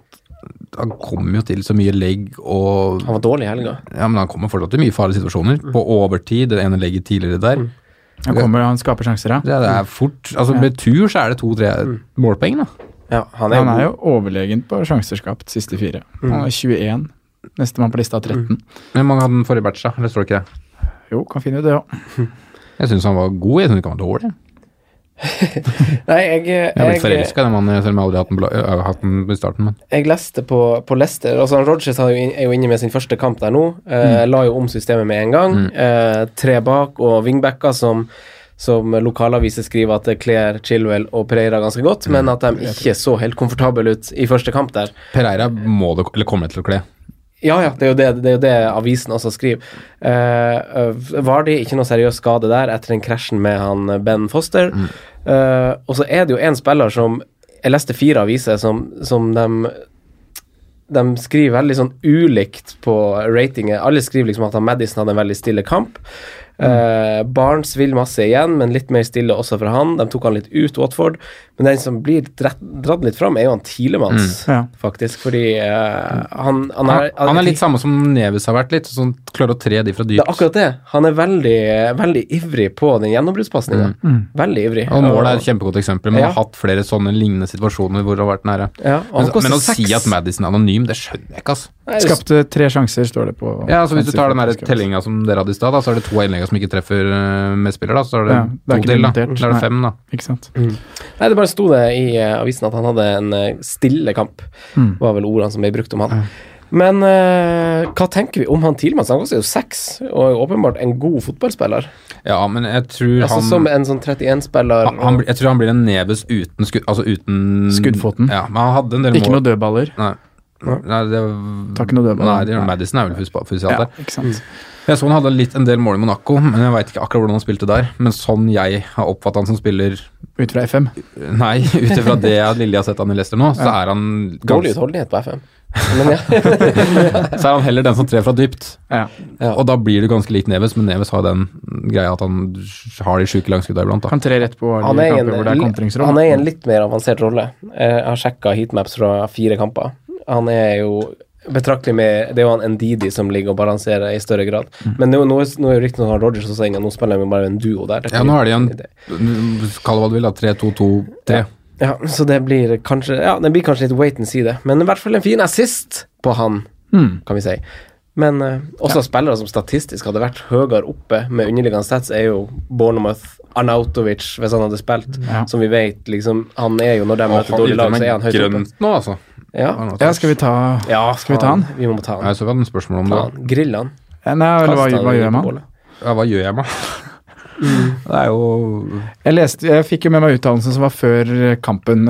Speaker 2: Han kommer jo til så mye legg og
Speaker 3: Han var dårlig i helga.
Speaker 2: Ja, men han Mm. kommer fortsatt til mye farlige situasjoner. På overtid, det ene legget tidligere der.
Speaker 4: Han kommer, han skaper sjanser, ja.
Speaker 2: Det, det er fort Altså, med tur så er det to-tre målpoeng, da.
Speaker 3: Ja, han
Speaker 4: Han er jo overlegen på sjanser skapt siste fire. Han er 21. Nestemann på lista er 13.
Speaker 2: Men mange hadde den forrige batch, da? Eller står det ikke det?
Speaker 4: Jo, kan finne ut det òg.
Speaker 2: Jeg syns han var god, jeg syns ikke han var dårlig.
Speaker 3: Nei, jeg, jeg,
Speaker 2: Jeg har
Speaker 3: jeg,
Speaker 2: blitt forelska i den mannen, selv om jeg aldri har hatt den bla- øh, hatt den i starten, men
Speaker 3: leste på, på Leicester altså han Rodgers har jo inn- er jo inne med sin første kamp der nå. Eh, La jo om systemet med en gang. Eh, tre bak og wingbacker som, som lokalaviser skriver at det kler Chilwell og Pereira ganske godt, men at de ikke så helt komfortable ut i første kamp der.
Speaker 2: Pereira må det, eller kommer det til å kle.
Speaker 3: Ja, ja, det er jo det, det, er jo det avisen også skriver. Uh, Vardi, ikke noe seriøs skade der etter den krasjen med han eh, Ben Foster. Eh, og så er det jo en spiller som Jeg leste fire aviser som, som de de skriver veldig sånn ulikt på ratingen. Alle skriver liksom at han Madison hadde en veldig stille kamp. Eh, Barnes vil masse igjen, men litt mer stille også fra han. De tok han litt ut, Watford. Men den som blir dratt, dratt litt fram, er jo han Tilemanns,
Speaker 4: Ja.
Speaker 3: faktisk. Fordi eh, han, han,
Speaker 2: Han,
Speaker 3: er,
Speaker 2: er litt samme som Neves har vært litt, sånn klarer å tre de fra
Speaker 3: Det
Speaker 2: dypt.
Speaker 3: er akkurat det. Han er veldig, veldig ivrig på den gjennombruddspasninga. Veldig ivrig.
Speaker 2: Mm, Og målet er et kjempegodt eksempel. Man
Speaker 3: Ja.
Speaker 2: har hatt flere sånne lignende situasjoner hvor det har vært nære.
Speaker 3: Ja, og han
Speaker 2: men,
Speaker 3: koster
Speaker 2: men å
Speaker 3: seks.
Speaker 2: si at Madison er anonym, det skjønner jeg ikke, altså.
Speaker 3: Nei, det-
Speaker 4: Skapte tre sjanser, står det på.
Speaker 2: Ja, altså Hvis du tar den der
Speaker 4: Fantasy Football.
Speaker 2: tellinga som dere hadde i stad, da, så er det to av innleggene som ikke treffer eh, medspiller. da, Så er det
Speaker 4: Ja, det er
Speaker 2: to
Speaker 4: ikke
Speaker 2: til, da.
Speaker 4: limitert,
Speaker 2: Da er
Speaker 4: nei.
Speaker 2: det fem, da.
Speaker 4: Ikke sant?
Speaker 3: Nei, det bare sto det i eh, avisen at han hadde en eh, stille kamp,
Speaker 2: Mm.
Speaker 3: var vel ordene som ble brukt om han. Men eh, hva tenker vi om han Tilmans? Han koster jo seks, og er jo åpenbart en god fotballspiller.
Speaker 2: Ja, men jeg tror
Speaker 3: Altså
Speaker 2: han,
Speaker 3: Som en sånn 31-spiller.
Speaker 2: han, han blir- Jeg tror han blir en Neves uten, sku, altså uten
Speaker 4: Skuddfoten.
Speaker 2: Ja, men han hadde en del
Speaker 4: Ikke
Speaker 2: mål.
Speaker 4: noe dødballer.
Speaker 2: Nei. Nei, det,
Speaker 4: Tar ikke noe dødball.
Speaker 2: Nei, det gjør Madison er vel fus- fusialt
Speaker 4: Ja,
Speaker 2: der.
Speaker 4: ikke sant.
Speaker 2: Jeg så han hadde litt en del mål i Monaco, men jeg veit ikke akkurat hvordan han spilte der. Men sånn jeg har oppfatta han som spiller
Speaker 4: Ut fra FM.
Speaker 2: Nei, ut ifra det jeg Lilje har sett han i Leicester nå, så er han,
Speaker 3: Dårlig
Speaker 2: gans,
Speaker 3: utholdenhet på FM. Men ja.
Speaker 2: så er han heller den som trer fra dypt.
Speaker 4: Ja.
Speaker 3: Ja.
Speaker 2: Og da blir du ganske lik Neves, men Neves har den greia at han har de sjuke langskudda iblant. Da.
Speaker 4: Kan tre rett på
Speaker 3: Han
Speaker 4: alle
Speaker 3: er, i en,
Speaker 4: kamper hvor det er
Speaker 3: li-
Speaker 4: kontringsrom.
Speaker 3: han er i en litt mer avansert rolle. Eh, Jeg har sjekka heatmaps fra fire kamper. Han er jo betraktelig med Det er jo han Ndidi som ligger og balanserer i større grad.
Speaker 4: Mm.
Speaker 3: Men nå, nå, er- nå er jo riktignok han Rogers også inne, og nå spiller de jo bare en duo der. Det
Speaker 2: Ja,
Speaker 3: kan
Speaker 2: nå
Speaker 3: jo-
Speaker 2: er det
Speaker 3: det-
Speaker 2: igjen Kall det hva du vil, da. 3-2-2-3.
Speaker 3: Ja, så det blir kanskje Ja, det blir kanskje litt wait and see, det. Men i hvert fall en fin assist på han,
Speaker 4: Hmm.
Speaker 3: kan vi si. Men eh, også spillere som statistisk hadde vært høyere oppe med underliggende stats, er jo Bournemouth, Arnautovic, hvis han hadde spilt.
Speaker 4: Ja.
Speaker 3: Som vi vet, liksom Han er jo, når de møter dårlige lag, så er han høyt oppe.
Speaker 2: grønt nå, altså.
Speaker 3: Ja.
Speaker 4: Ja, skal vi ta
Speaker 3: ja,
Speaker 4: Skal vi ta han? Eh,
Speaker 3: Vi må ta
Speaker 2: Nei,
Speaker 3: han.
Speaker 2: så vi hadde en spørsmål om det.
Speaker 3: Ta han. Grill han.
Speaker 4: Nei, eller hva, hva gjør man?
Speaker 2: Ja, hva gjør jeg med Det er jo
Speaker 4: Jeg, leste, jeg fikk jo med meg uttalelsen som var før eh, kampen.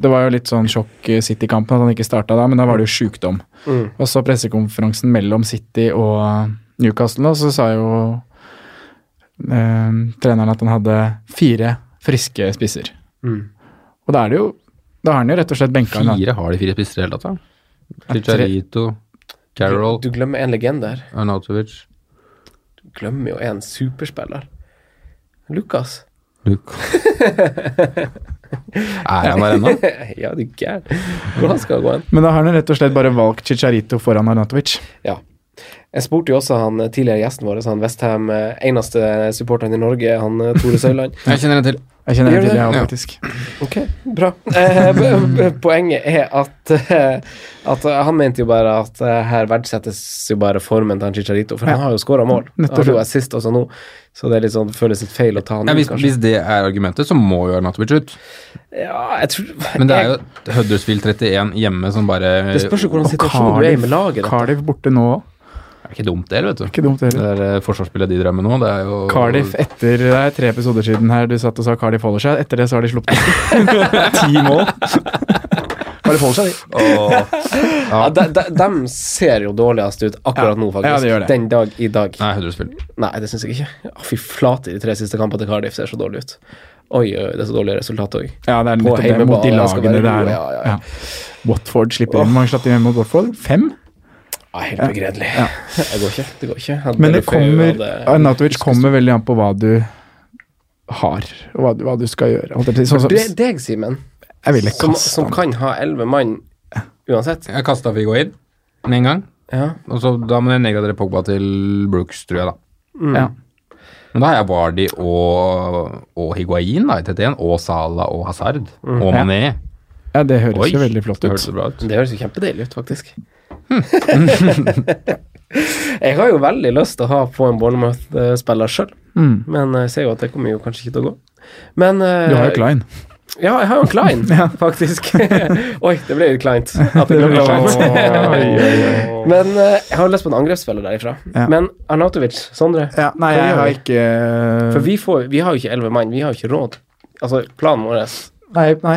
Speaker 4: Det var jo litt sånn sjokk eh, City-kampen at han ikke starta da, men da var det jo sjukdom.
Speaker 3: Mm.
Speaker 4: Og så pressekonferansen mellom City og eh, Newcastle, og så sa jo eh, treneren at han hadde fire friske spisser.
Speaker 3: Mm.
Speaker 4: Og da er det jo Da har han jo rett og slett benka en
Speaker 2: Fire har de fire spisser i det hele tatt, da?
Speaker 4: tre-
Speaker 2: Chicharito, Carol,
Speaker 3: Du, du glemmer en legende her.
Speaker 2: Arnautovic,
Speaker 3: Du glemmer jo en superspiller. Lukas.
Speaker 2: Luke Er han der ennå?
Speaker 3: ja, du er gæren. Hvordan skal det gå hen?
Speaker 4: Men da har han jo rett og slett bare valgt Chicharito foran Arnatovic.
Speaker 3: Ja. Jeg spurte jo også han eh, tidligere gjesten vår, han Westham, eh, eneste supporteren i Norge, han eh, Tore Søyland.
Speaker 2: Jeg kjenner en til.
Speaker 4: Jeg kjenner
Speaker 3: Gjør
Speaker 4: det til,
Speaker 3: det?
Speaker 4: jeg òg,
Speaker 2: Ja.
Speaker 4: faktisk.
Speaker 3: Ok, bra. Eh, b- b- poenget er at, eh, at eh, han mente jo bare at eh, her verdsettes jo bare formen til han Chicharito, for han har jo skåra mål. Han
Speaker 4: nettopp.
Speaker 3: har jo assist også nå, så det er litt sånn, føles litt feil å ta han
Speaker 2: Ja,
Speaker 3: ut,
Speaker 2: hvis,
Speaker 3: kanskje.
Speaker 2: hvis det er argumentet, så må jo Arnatovic ut.
Speaker 3: Ja, jeg tror
Speaker 2: Men det er
Speaker 3: jeg-
Speaker 2: jo Huddersfield 31 hjemme som bare
Speaker 3: det spørs jo hvordan
Speaker 4: Og
Speaker 3: situasjonen du er i med laget. da.
Speaker 4: Cardiff borte nå òg.
Speaker 2: er ikke dumt, det, vet du.
Speaker 4: Ikke dumt, det heller.
Speaker 2: Det er eh, forsvarsspillet de drev med nå, det er jo
Speaker 4: Cardiff etter Det er tre episoder siden her du satt og sa Cardiff holder seg. Etter det så har de sluppet ti mål. Cardiff holder seg, de.
Speaker 2: Åh.
Speaker 3: Ja, de, de, de ser jo dårligst ut akkurat nå, faktisk.
Speaker 4: Ja, det gjør det.
Speaker 3: Den dag i dag.
Speaker 2: Nei, Huddersfield.
Speaker 3: Nei, det syns jeg ikke. Å, fy flate, de tre siste kampene til Cardiff ser så dårlig ut. Oi, oi, det er så dårlig resultat òg.
Speaker 4: Ja, det er
Speaker 3: På
Speaker 4: nettopp det
Speaker 3: hjemmebane, altså.
Speaker 4: mot de
Speaker 3: det skal være
Speaker 4: lagene det
Speaker 3: gode,
Speaker 4: er.
Speaker 3: ja, ja, ja.
Speaker 4: Watford slipper inn. Hvor mange slapp de inn mot Watford? Fem?
Speaker 3: Ja, helt begredelig. Det går ikke. Det går ikke. Hadde
Speaker 4: Men det
Speaker 3: Delefeu
Speaker 4: kommer
Speaker 3: hadde-
Speaker 4: Arnatovic kommer veldig an på hva du har, og hva du, hva du skal gjøre. Alt det, sånn,
Speaker 3: Du er
Speaker 4: som-
Speaker 3: deg, Simen,
Speaker 4: jeg ville
Speaker 3: som,
Speaker 4: kaste
Speaker 3: som
Speaker 4: han.
Speaker 3: kan ha elleve mann uansett.
Speaker 2: Jeg kasta Figoid med en gang,
Speaker 3: Ja.
Speaker 2: og så da må jeg nedgradere Pogba til Brooks, tror jeg, da.
Speaker 4: Ja.
Speaker 2: Men da har jeg Vardi og, og Higuain da, i 31, og Sala og Hazard. Og
Speaker 4: Ja.
Speaker 2: Mané.
Speaker 4: ja, det høres
Speaker 2: Oi,
Speaker 4: jo veldig flott
Speaker 2: det hørtes
Speaker 4: ut.
Speaker 2: bra ut.
Speaker 3: Det høres jo kjempedeilig ut, faktisk.
Speaker 4: Hm.
Speaker 3: jeg har jo veldig lyst til å ha på en Bournemouth-spiller sjøl,
Speaker 4: Mm.
Speaker 3: men eh, jeg ser jo at det kommer jo kanskje ikke til å gå. Men eh,
Speaker 4: Du har jo Klein.
Speaker 3: Ja, jeg har jo en Klein, faktisk. Oi, det ble litt kleint. At det ble kleint.
Speaker 4: Åh.
Speaker 3: Men eh, jeg har lyst på en angrepsspiller derifra.
Speaker 4: Ja.
Speaker 3: Men Arnautovic, Sondre
Speaker 4: Ja, nei, jeg har ikke
Speaker 3: For vi, får, vi har jo ikke elleve mann, vi har jo ikke råd. Altså, planen vår
Speaker 4: Nei, nei.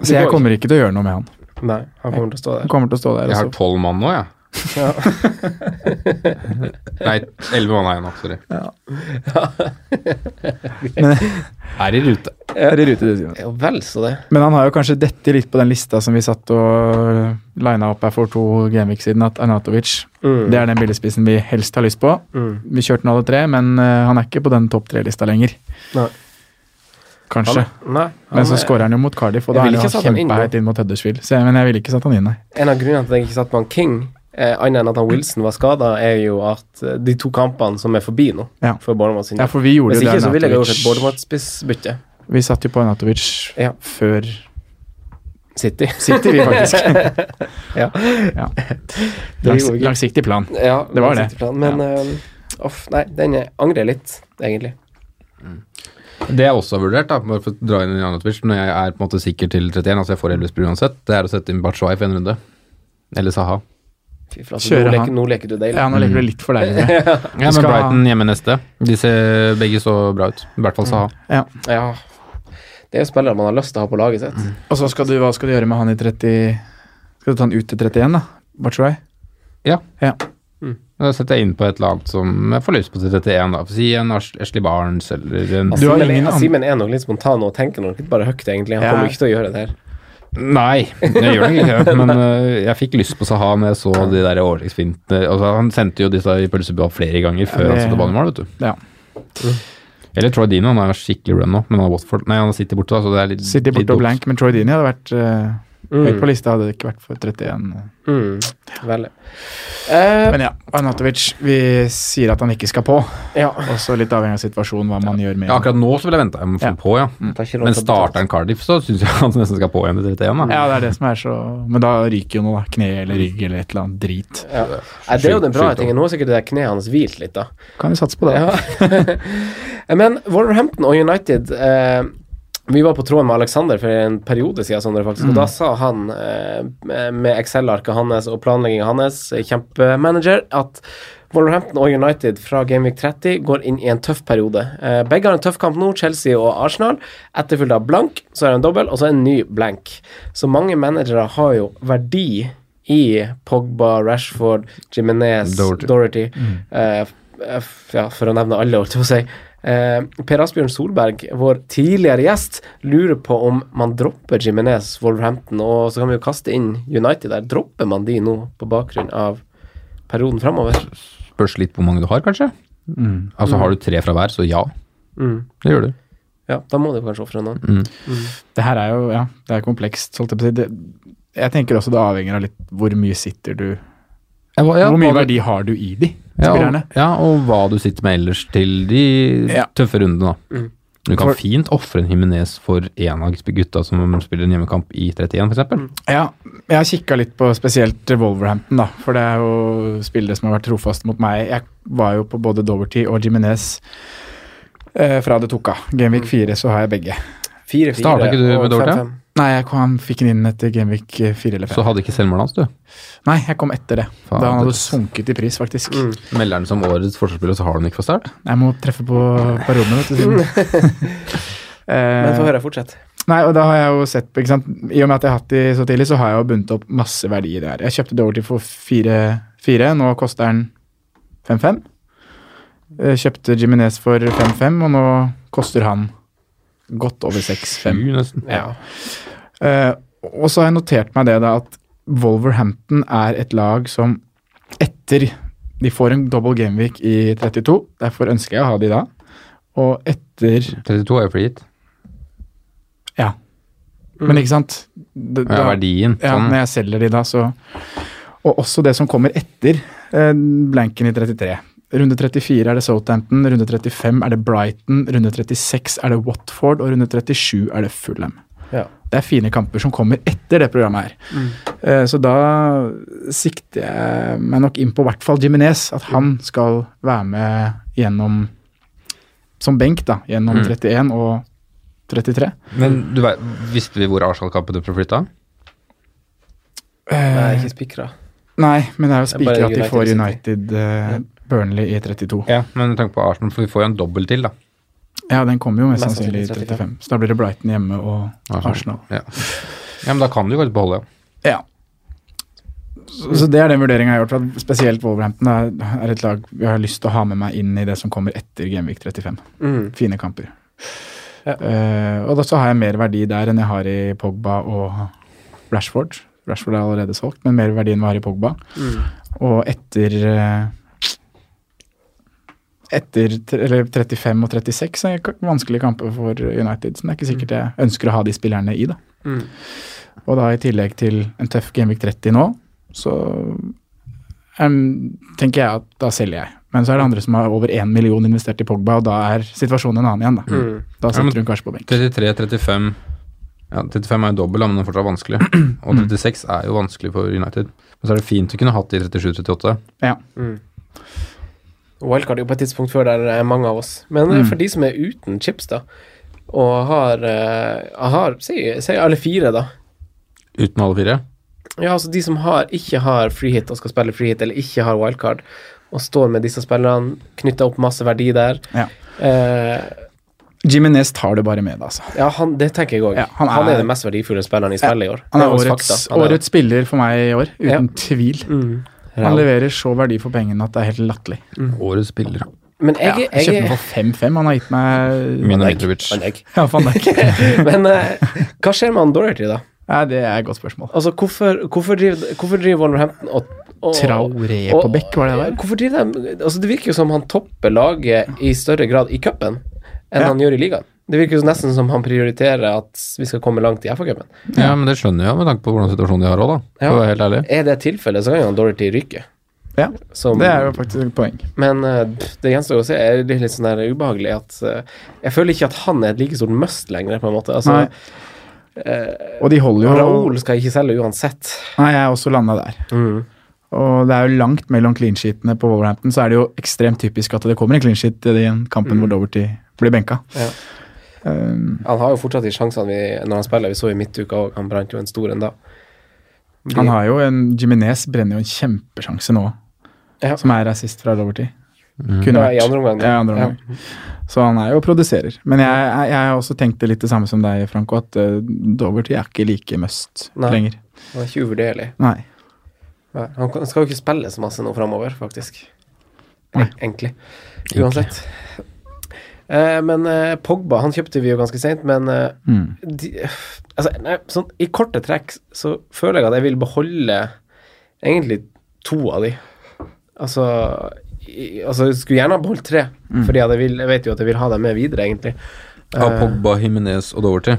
Speaker 4: Så
Speaker 3: Det
Speaker 4: jeg
Speaker 3: går
Speaker 4: kommer ikke til å gjøre noe med han.
Speaker 3: Nei, han kommer til å stå
Speaker 4: Han
Speaker 3: der.
Speaker 4: kommer til å stå der.
Speaker 2: Jeg har
Speaker 4: og så-
Speaker 2: tolv mann nå, jeg. Nei, 11 måneder igjen nå. Sorry.
Speaker 4: Men,
Speaker 2: Er i rute.
Speaker 4: er i rute, du, Simon.
Speaker 3: Ja vel, så det.
Speaker 4: Men han har jo kanskje dette litt på den lista som vi satt og lina opp her for to gameweek siden, at Arnatovic
Speaker 3: Mm.
Speaker 4: Det er den billigspissen vi helst har lyst på. Vi kjørte den alle tre, men eh, han er ikke på den topp tre-lista lenger.
Speaker 3: Nei.
Speaker 4: Kanskje.
Speaker 3: Nei, han
Speaker 4: men så
Speaker 3: er-
Speaker 4: skårer han jo mot Cardiff, og
Speaker 3: Jeg
Speaker 4: da
Speaker 3: ville
Speaker 4: er
Speaker 3: ikke
Speaker 4: han
Speaker 3: satt han inn,
Speaker 4: kjempeheit inn mot Huddersfield. Så, jeg- men jeg ville ikke satt han inn, nei.
Speaker 3: En av grunnene til at jeg ikke satt på han King, eh, annet enn at han Wilson var skada, er jo at eh, de to kampene som er forbi nå,
Speaker 4: Ja.
Speaker 3: for Bournemouth sin
Speaker 4: Ja, for vi gjorde
Speaker 3: Hvis
Speaker 4: jo
Speaker 3: ikke
Speaker 4: det.
Speaker 3: så ville jeg jo
Speaker 4: Arnautovic.
Speaker 3: sett Bournemouth-spissbytte.
Speaker 4: Vi satt jo på Arnatovic
Speaker 3: Ja.
Speaker 4: før
Speaker 3: City.
Speaker 4: City, vi faktisk.
Speaker 3: Ja.
Speaker 4: Ja.
Speaker 3: gjorde
Speaker 4: Langs,
Speaker 3: vi ikke.
Speaker 4: langsiktig plan.
Speaker 3: Ja,
Speaker 4: Det var
Speaker 3: den
Speaker 4: det.
Speaker 3: sitter planen, Men eh, off, nei, den jeg angrer litt, egentlig.
Speaker 2: Det jeg også har vurdert, da, bare for å dra inn i Arnatovic, når jeg er på en måte sikker til 31, altså jeg får Elvesbru uansett, det er å sette inn Batshuayi for en runde. Eller Saha.
Speaker 3: Fy flate,
Speaker 4: Kjører
Speaker 3: nå,
Speaker 4: han.
Speaker 3: leker, nå leker du deilig.
Speaker 4: Ja, nå legger det litt for deg. Videre.
Speaker 2: Ja, men
Speaker 4: Skal-
Speaker 2: Brighton hjemme neste. De ser begge så bra ut. I hvert fall Saha.
Speaker 4: Ja.
Speaker 3: Ja. Det er jo spillere man har lyst til å ha på laget sitt.
Speaker 4: Og så skal du, hva skal du gjøre med han i 30 Skal du ta han ut til 31, da? Batshuay?
Speaker 2: Ja.
Speaker 4: Ja.
Speaker 2: Da setter jeg inn på et eller annet som jeg får lyst på til 31, da. Si en Ars- Ashley Barnes eller en
Speaker 4: Du har
Speaker 3: Simen
Speaker 4: ingen
Speaker 3: er-
Speaker 4: an-
Speaker 3: Simen er nok litt spontan og tenker nok litt bare høyt, egentlig. Han
Speaker 4: Ja.
Speaker 3: kommer ikke til å gjøre det her.
Speaker 2: Nei, jeg gjør nok ikke det, men øh, jeg fikk lyst på Saha når jeg så de der overleggsfintene. Altså, han sendte jo disse i pølsebua flere ganger før
Speaker 4: Ja, det-
Speaker 2: han satte ballen i mål, vet du.
Speaker 4: Ja.
Speaker 2: Eller Troy Dino, han er skikkelig run nå, men han, har Watford, nei, han sitter borte, da, så det er litt
Speaker 4: City
Speaker 2: litt
Speaker 4: borte
Speaker 2: dumt.
Speaker 4: og blank, men Troy Dini hadde vært eh, høyt på
Speaker 3: Mm.
Speaker 4: lista. Hadde det ikke vært for 31.
Speaker 3: Mm. Veldig. Eh,
Speaker 4: Men ja, Arnatovic, vi sier at han ikke skal på.
Speaker 3: ja.
Speaker 4: Også litt avhengig av situasjonen, hva man gjør med
Speaker 2: Ja, akkurat nå så vil jeg vente jeg må få
Speaker 4: Ja.
Speaker 2: på, ja.
Speaker 3: Tar ikke lov
Speaker 2: Men
Speaker 3: til å betale.
Speaker 2: starter han Cardiff, så syns jeg han nesten skal på igjen til 31, da.
Speaker 4: Ja, det er det som er så Men da ryker jo noe, da. Kne eller rygg eller et eller annet drit.
Speaker 3: Ja. Nei, det er jo den bra
Speaker 2: Skyld-
Speaker 3: tingen. Nå har sikkert det der kneet hans hvilt litt, da.
Speaker 4: Kan vi satse på det.
Speaker 3: Ja. Men Wolverhampton og United eh, Vi var på tråden med Alexander for en periode siden, Sondre, faktisk, og da sa han, eh, med Excel-arket hans og planleggingen hans, kjempemanager, at Wolverhampton og United fra Gameweek 30 går inn i en tøff periode. Eh, begge har en tøff kamp nå, Chelsea og Arsenal. Etterfulgt av blank, så er det en dobbel, og så en ny blank. Så mange managere har jo verdi i Pogba, Rashford, Jimenez,
Speaker 2: Doherty.
Speaker 3: Doherty,
Speaker 2: Mm.
Speaker 3: eh, f- ja, for å nevne alle, holdt jeg på å si. Eh, per Asbjørn Solberg, vår tidligere gjest, lurer på om man dropper Jimenez, Wolverhampton, og så kan vi jo kaste inn United der. Dropper man de nå på bakgrunn av perioden framover?
Speaker 2: Spørs litt hvor mange du har, kanskje.
Speaker 4: Mm.
Speaker 2: Altså har du tre fra hver, så ja.
Speaker 3: Mm.
Speaker 2: Det gjør du.
Speaker 3: Ja, da må du kanskje ofre noen.
Speaker 4: Det her er jo ja, det er komplekst. holdt Jeg på å si. Det, jeg tenker også det avhenger av litt hvor mye sitter du
Speaker 2: Ja, hva- ja,
Speaker 4: Hvor mye
Speaker 2: hva-
Speaker 4: verdi har du i de
Speaker 2: Ja og,
Speaker 4: spillerne?
Speaker 2: ja, og hva du sitter med ellers til de
Speaker 4: Ja.
Speaker 2: tøffe rundene. da.
Speaker 3: Mm.
Speaker 2: Du kan
Speaker 4: For-
Speaker 2: fint ofre en Himinez for en av gutta som spiller en hjemmekamp i 31, f.eks.
Speaker 4: Ja, jeg har kikka litt på spesielt Wolverhampton, da. For det er jo spillere som har vært trofaste mot meg. Jeg var jo på både Doverty og Jiminez eh, fra det tok av.
Speaker 2: Mm.
Speaker 4: Gameweek 4 så har jeg begge.
Speaker 3: Fire,
Speaker 2: Starter ikke du
Speaker 3: og
Speaker 2: med Dorte?
Speaker 3: fem, fem.
Speaker 4: Nei, jeg kom, han fikk den inn etter Gameweek 4 eller 5.
Speaker 2: Så hadde ikke selvmålet hans, du.
Speaker 4: Nei, jeg kom etter det.
Speaker 2: Faen,
Speaker 4: da han
Speaker 2: det- Mm.
Speaker 4: hadde sunket i pris, faktisk.
Speaker 3: Mm.
Speaker 2: Melder han som årets forsvarsspiller, så har han ikke fra start.
Speaker 4: Jeg må treffe på perioden, vet du. Siden.
Speaker 3: Men få
Speaker 4: eh,
Speaker 3: høre, fortsett.
Speaker 4: nei, og da har jeg jo sett på, ikke sant? I og med at jeg har hatt de så tidlig, så har jeg jo bundet opp masse verdi i det her. Jeg kjøpte Doverty for 4-4, nå koster den 5-5. Eh, Kjøpte Jiminez for 5-5, og nå koster han godt over 6-5.
Speaker 2: Sju, nesten.
Speaker 4: Ja. Eh, og så har jeg notert meg det da at Wolverhampton er et lag som etter De får en double gameweek i 32, derfor ønsker jeg å ha de da. Og etter
Speaker 2: 32 er jo frigitt.
Speaker 4: Ja. Men ikke sant? Det,
Speaker 2: Ja, verdien.
Speaker 4: ja,
Speaker 2: Sånn.
Speaker 4: når jeg selger de da, så Og også det som kommer etter eh, blanken i 33. Runde 34 er det Southampton, runde 35 er det Brighton, runde 36 er det Watford, og runde 37 er det Fulham.
Speaker 3: Ja.
Speaker 4: Det er fine kamper som kommer etter det programmet her. Eh, Så da sikter jeg meg nok inn på i hvert fall Jiminez, at han skal være med gjennom som benk, da, gjennom 31 og 33.
Speaker 2: Men du vet, visste vi hvor Arsenal-kampen ble flytta?
Speaker 3: Nei,
Speaker 4: Eh,
Speaker 3: ikke spikra.
Speaker 4: Nei, men det er jo
Speaker 3: er bare
Speaker 4: spikra at de
Speaker 3: United
Speaker 4: får
Speaker 3: City.
Speaker 4: United eh, Burnley i 32.
Speaker 2: Ja, men med tanke på Arsenal, for vi får jo en dobbel til, da.
Speaker 4: Ja, den kommer jo mest
Speaker 3: Mest
Speaker 4: sannsynlig i
Speaker 3: sannsynlig
Speaker 4: 35. Så da blir det Brighton hjemme og Arsenal.
Speaker 2: Ja. ja, men da kan du jo faktisk beholde, ja.
Speaker 4: Ja. Så, så det er den vurderinga jeg har gjort. for at Spesielt Wolverhampton er, er et lag jeg har lyst til å ha med meg inn i det som kommer etter Genvik 35.
Speaker 3: Mm.
Speaker 4: Fine kamper.
Speaker 3: Ja.
Speaker 4: Eh, og da så har jeg mer verdi der enn jeg har i Pogba og Rashford. Rashford er allerede solgt, men mer verdi enn vi har i Pogba.
Speaker 3: mm,
Speaker 4: Og etter eh, etter tre- eller 35 og 36 er k- vanskelige kamper for United. Så det er ikke sikkert jeg ønsker å ha de spillerne i, da.
Speaker 3: Mm.
Speaker 4: Og da i tillegg til en tøff Genvik 30 nå, så em, tenker jeg at da selger jeg. Men så er det andre som har over 1 million investert i Pogba, og da er situasjonen en annen igjen, da.
Speaker 3: Mm.
Speaker 4: Da
Speaker 2: Ja, men-
Speaker 4: setter hun kanskje på benk.
Speaker 2: 33, 35 Ja, 35 er jo dobbel, da, men den er fortsatt vanskelig. Og 36 er jo vanskelig for United. Men så er det fint å kunne hatt de 37-38.
Speaker 4: Ja.
Speaker 3: Wildcard er jo på et tidspunkt før der er mange av oss. Men
Speaker 4: Mm.
Speaker 3: eh, for de som er uten chips, da, og har, eh, har si, si alle fire, da.
Speaker 2: Uten alle fire.
Speaker 3: Ja, altså de som har, ikke har freehit og skal spille freehit, eller ikke har wildcard, og står med disse spillerne, knytter opp masse verdi der
Speaker 4: Ja.
Speaker 3: eh,
Speaker 4: Jiminez tar det bare med, det, altså.
Speaker 3: Ja, han, det tenker jeg òg.
Speaker 4: Ja, han
Speaker 3: han,
Speaker 4: er-
Speaker 3: er den mest verdifulle spilleren i spillet i år.
Speaker 4: Han er
Speaker 3: Det jo
Speaker 4: årets,
Speaker 3: fakta. Han er Mm. det.
Speaker 4: årets spiller for meg i år, uten tvil. Han
Speaker 3: Ja.
Speaker 4: leverer så verdi for pengene at det er helt latterlig.
Speaker 2: Årets spiller.
Speaker 3: Men jeg,
Speaker 4: Jeg
Speaker 3: jeg,
Speaker 4: kjøpte den for 5-5, han har gitt meg
Speaker 2: Mina
Speaker 3: Men,
Speaker 2: Mitrovic.
Speaker 3: jeg.
Speaker 4: Ja, faen, det er ikke
Speaker 3: Men eh, hva skjer med han Dorothy, da?
Speaker 4: Nei, det er et godt spørsmål.
Speaker 3: Altså, hvorfor, hvorfor, driver, hvorfor driver Wolverhampton og, og
Speaker 4: Traoré
Speaker 3: og-
Speaker 4: på bekk, var det det
Speaker 3: Ja,
Speaker 4: der?
Speaker 3: Hvorfor driver de Altså, det virker jo som han topper laget i større grad i cupen enn
Speaker 4: Ja.
Speaker 3: han gjør i ligaen. Det virker jo nesten som han prioriterer at vi skal komme langt i FA-cupen.
Speaker 2: Ja, men det skjønner jeg med tanke på hvordan situasjonen de har òg, da. For å være helt ærlig.
Speaker 3: Er det tilfellet, så kan jo han Dorothy ryke.
Speaker 4: Ja,
Speaker 3: Som,
Speaker 4: det er jo faktisk et poeng.
Speaker 3: Men eh, det gjenstår jo å se. Det er litt sånn der ubehagelig at eh, Jeg føler ikke at han er et like stort must lenger, på en måte. Altså, Eh,
Speaker 4: Nei. Og de holder jo
Speaker 3: Raoul skal jeg ikke selge uansett.
Speaker 4: Nei, jeg er også landa der.
Speaker 3: Mm.
Speaker 4: Og det er jo langt mellom clean sheetene på Wolverhampton, så er det jo ekstremt typisk at det kommer en clean sheet i den kampen hvor Doverty blir benka.
Speaker 3: Mm. Ja.
Speaker 4: Um,
Speaker 3: Han har jo fortsatt de sjansene vi, når han spiller. Vi så i midtuka òg, han brant jo en stor en da.
Speaker 4: han har jo en Jiminez brenner jo en kjempesjanse nå,
Speaker 3: Ja.
Speaker 4: som er rasist fra Doverty.
Speaker 3: Ja, i andre omgang, da.
Speaker 4: Ja, i andre
Speaker 3: Ja.
Speaker 4: omgang. Så han er jo produserer. Men jeg, jeg, jeg har også tenkt litt det samme som deg, Franco, at uh, Doverty er ikke like must
Speaker 3: Nei.
Speaker 4: lenger.
Speaker 3: Han er ikke uvurderlig.
Speaker 4: Nei.
Speaker 3: Nei, Han kan- skal jo ikke spille så masse nå framover, faktisk.
Speaker 4: Nei.
Speaker 3: Egentlig. Uansett. Eh, men eh, Pogba han kjøpte vi jo ganske seint, men eh,
Speaker 4: Mm.
Speaker 3: de, altså, nei, sånn, i korte trekk så føler jeg at jeg vil beholde egentlig to av de. Altså, i, altså jeg Skulle gjerne ha beholdt tre,
Speaker 4: Mm.
Speaker 3: Fordi at jeg, vil, jeg vet jo at jeg vil ha dem med videre, egentlig.
Speaker 2: Av Pogba, Jimenez og Doverty.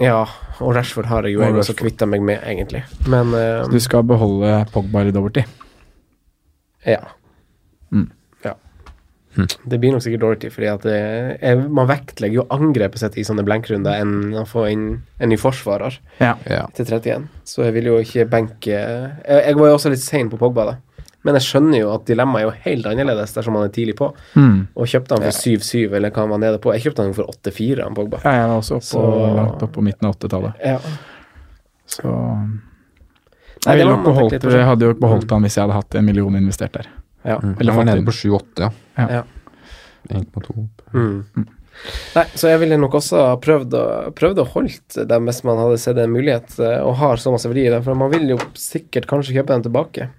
Speaker 3: Ja, og Rashford har jeg jo
Speaker 4: Og
Speaker 3: jeg også kvitta meg med, egentlig. Men eh,
Speaker 4: Du skal beholde Pogba eller Doverty.
Speaker 3: Ja.
Speaker 4: Mm.
Speaker 3: ja.
Speaker 4: Hm.
Speaker 3: Det blir nok sikkert Dorothy, fordi at det er, man vektlegger jo angrepet sitt i sånne blenkrunder enn å få inn en ny forsvarer
Speaker 4: Ja.
Speaker 2: Ja.
Speaker 3: til 31. Så jeg vil jo ikke benke Jeg, jeg var jo også litt sein på Pogba, da. Men jeg skjønner jo at dilemmaet er jo helt annerledes dersom han er tidlig på.
Speaker 4: Mm.
Speaker 3: Og kjøpte han for 7-7, eller hva han var nede på. Jeg kjøpte han jo for 8-4, han Pogba.
Speaker 4: Ja, jeg var også oppe,
Speaker 3: Så-
Speaker 4: langt opp på midten av 80-tallet.
Speaker 3: Ja.
Speaker 4: Så
Speaker 3: Nei,
Speaker 4: jeg,
Speaker 3: det
Speaker 4: ville
Speaker 3: var man
Speaker 4: nok
Speaker 3: fikk
Speaker 4: beholdt,
Speaker 3: litt forskjell.
Speaker 4: jeg Mm. hadde jo ikke beholdt han hvis jeg hadde hatt en million investert der.
Speaker 3: Ja.
Speaker 2: Eller var
Speaker 4: fått
Speaker 2: nede
Speaker 4: inn.
Speaker 2: på 7-8, ja.
Speaker 4: Ja.
Speaker 3: Ja.
Speaker 2: 1,2.
Speaker 3: Mm. Nei, så jeg ville nok også ha prøvd å, prøvd å holdt dem hvis man hadde sett en mulighet, eh, og har så masse verdi i dem. For man vil jo sikkert kanskje kjøpe dem tilbake.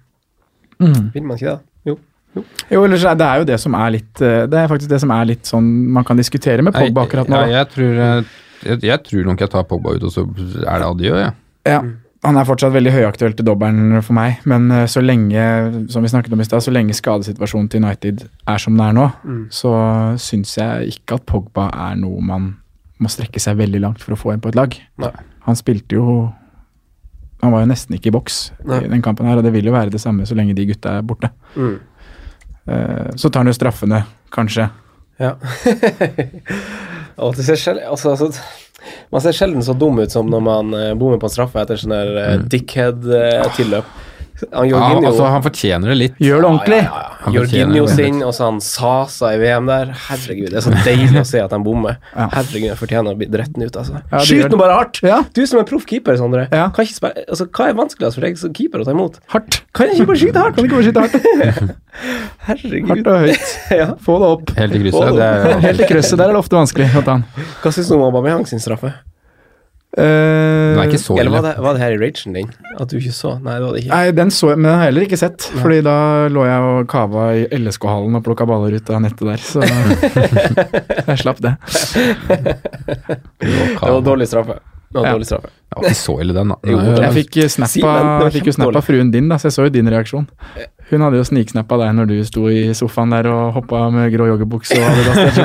Speaker 4: Mm.
Speaker 3: Vil man ikke det? Jo.
Speaker 4: Jo, ellers er det er jo det som er litt eh, Det er faktisk det som er litt sånn man kan diskutere med Pogba akkurat
Speaker 2: Ja,
Speaker 4: nå. da.
Speaker 2: jeg, tror, jeg, jeg, jeg tror nok jeg tar Pogba ut, og så er det adjø, jeg.
Speaker 4: Ja.
Speaker 3: Mm.
Speaker 4: Han er fortsatt veldig høyaktuell til dobbelen for meg, men eh, så lenge som vi snakket om i sted, så lenge skadesituasjonen til United er som den er nå,
Speaker 3: Mm.
Speaker 4: så syns jeg ikke at Pogba er noe man må strekke seg veldig langt for å få inn på et lag.
Speaker 3: Nei.
Speaker 4: Han spilte jo Han var jo nesten ikke i boks
Speaker 3: Nei.
Speaker 4: i den kampen her, og det vil jo være det samme så lenge de gutta er borte.
Speaker 3: Mm.
Speaker 4: Eh, Så tar han jo straffene, kanskje.
Speaker 3: Ja. og det ser sjel altså, altså, man ser sjelden så dum ut som når man eh, bommer på en straffe etter sånn der eh, dickhead-tilløp. Han
Speaker 2: Ja,
Speaker 3: Jorginho
Speaker 2: altså, han fortjener det litt.
Speaker 4: Gjør det ordentlig!
Speaker 3: Ja, ja, ja.
Speaker 2: Han
Speaker 3: Jorginho
Speaker 2: fortjener det.
Speaker 3: sin, og så han Sasa i VM der. Herregud, det er så deilig å se at han bommer.
Speaker 4: Ja.
Speaker 3: Herregud, jeg fortjener å bli dretten ut, altså.
Speaker 4: Ja, det gjør
Speaker 3: Skyt
Speaker 4: det.
Speaker 3: nå bare hardt!
Speaker 4: Ja.
Speaker 3: Du som er proff keeper, Sondre.
Speaker 4: Ja.
Speaker 3: Kan ikke spille, altså, hva er vanskeligst for deg som keeper å ta imot?
Speaker 4: Hardt!
Speaker 3: Kan jeg ikke bare skyte hardt?
Speaker 4: Kan ikke bare skyte hardt.
Speaker 3: Herregud.
Speaker 4: Hardt og høyt.
Speaker 3: Ja.
Speaker 4: Få det opp. Eh,
Speaker 2: Helt i krysset. Det er jo
Speaker 4: Helt i krysset, der er det ofte vanskelig å ta han.
Speaker 3: Hva syns du om Aubameyang sin straffe?
Speaker 2: Den er ikke så
Speaker 3: Eller
Speaker 2: ille.
Speaker 3: var det, var det her i ragen din? At du ikke så? Nei, det var det ikke.
Speaker 4: Nei, den så jeg, men den har jeg heller ikke sett. Fordi da lå jeg og kava i LSK-hallen og plukka baller ut av nettet der, så jeg slapp det.
Speaker 3: Det var dårlig straffe. Det var
Speaker 4: Ja.
Speaker 3: dårlig straffe.
Speaker 2: Det var ikke så ille, den, da.
Speaker 3: Jo,
Speaker 2: Den er jo-
Speaker 4: Jeg fikk eh, snap
Speaker 3: Si, men
Speaker 4: av-
Speaker 3: det var
Speaker 4: jeg fikk jo snap av fruen din, da, så jeg så jo din reaksjon.
Speaker 2: Eh.
Speaker 4: Hun hadde jo sniksnappa deg når du sto i sofaen der og hoppa med grå joggebukse og Adidas.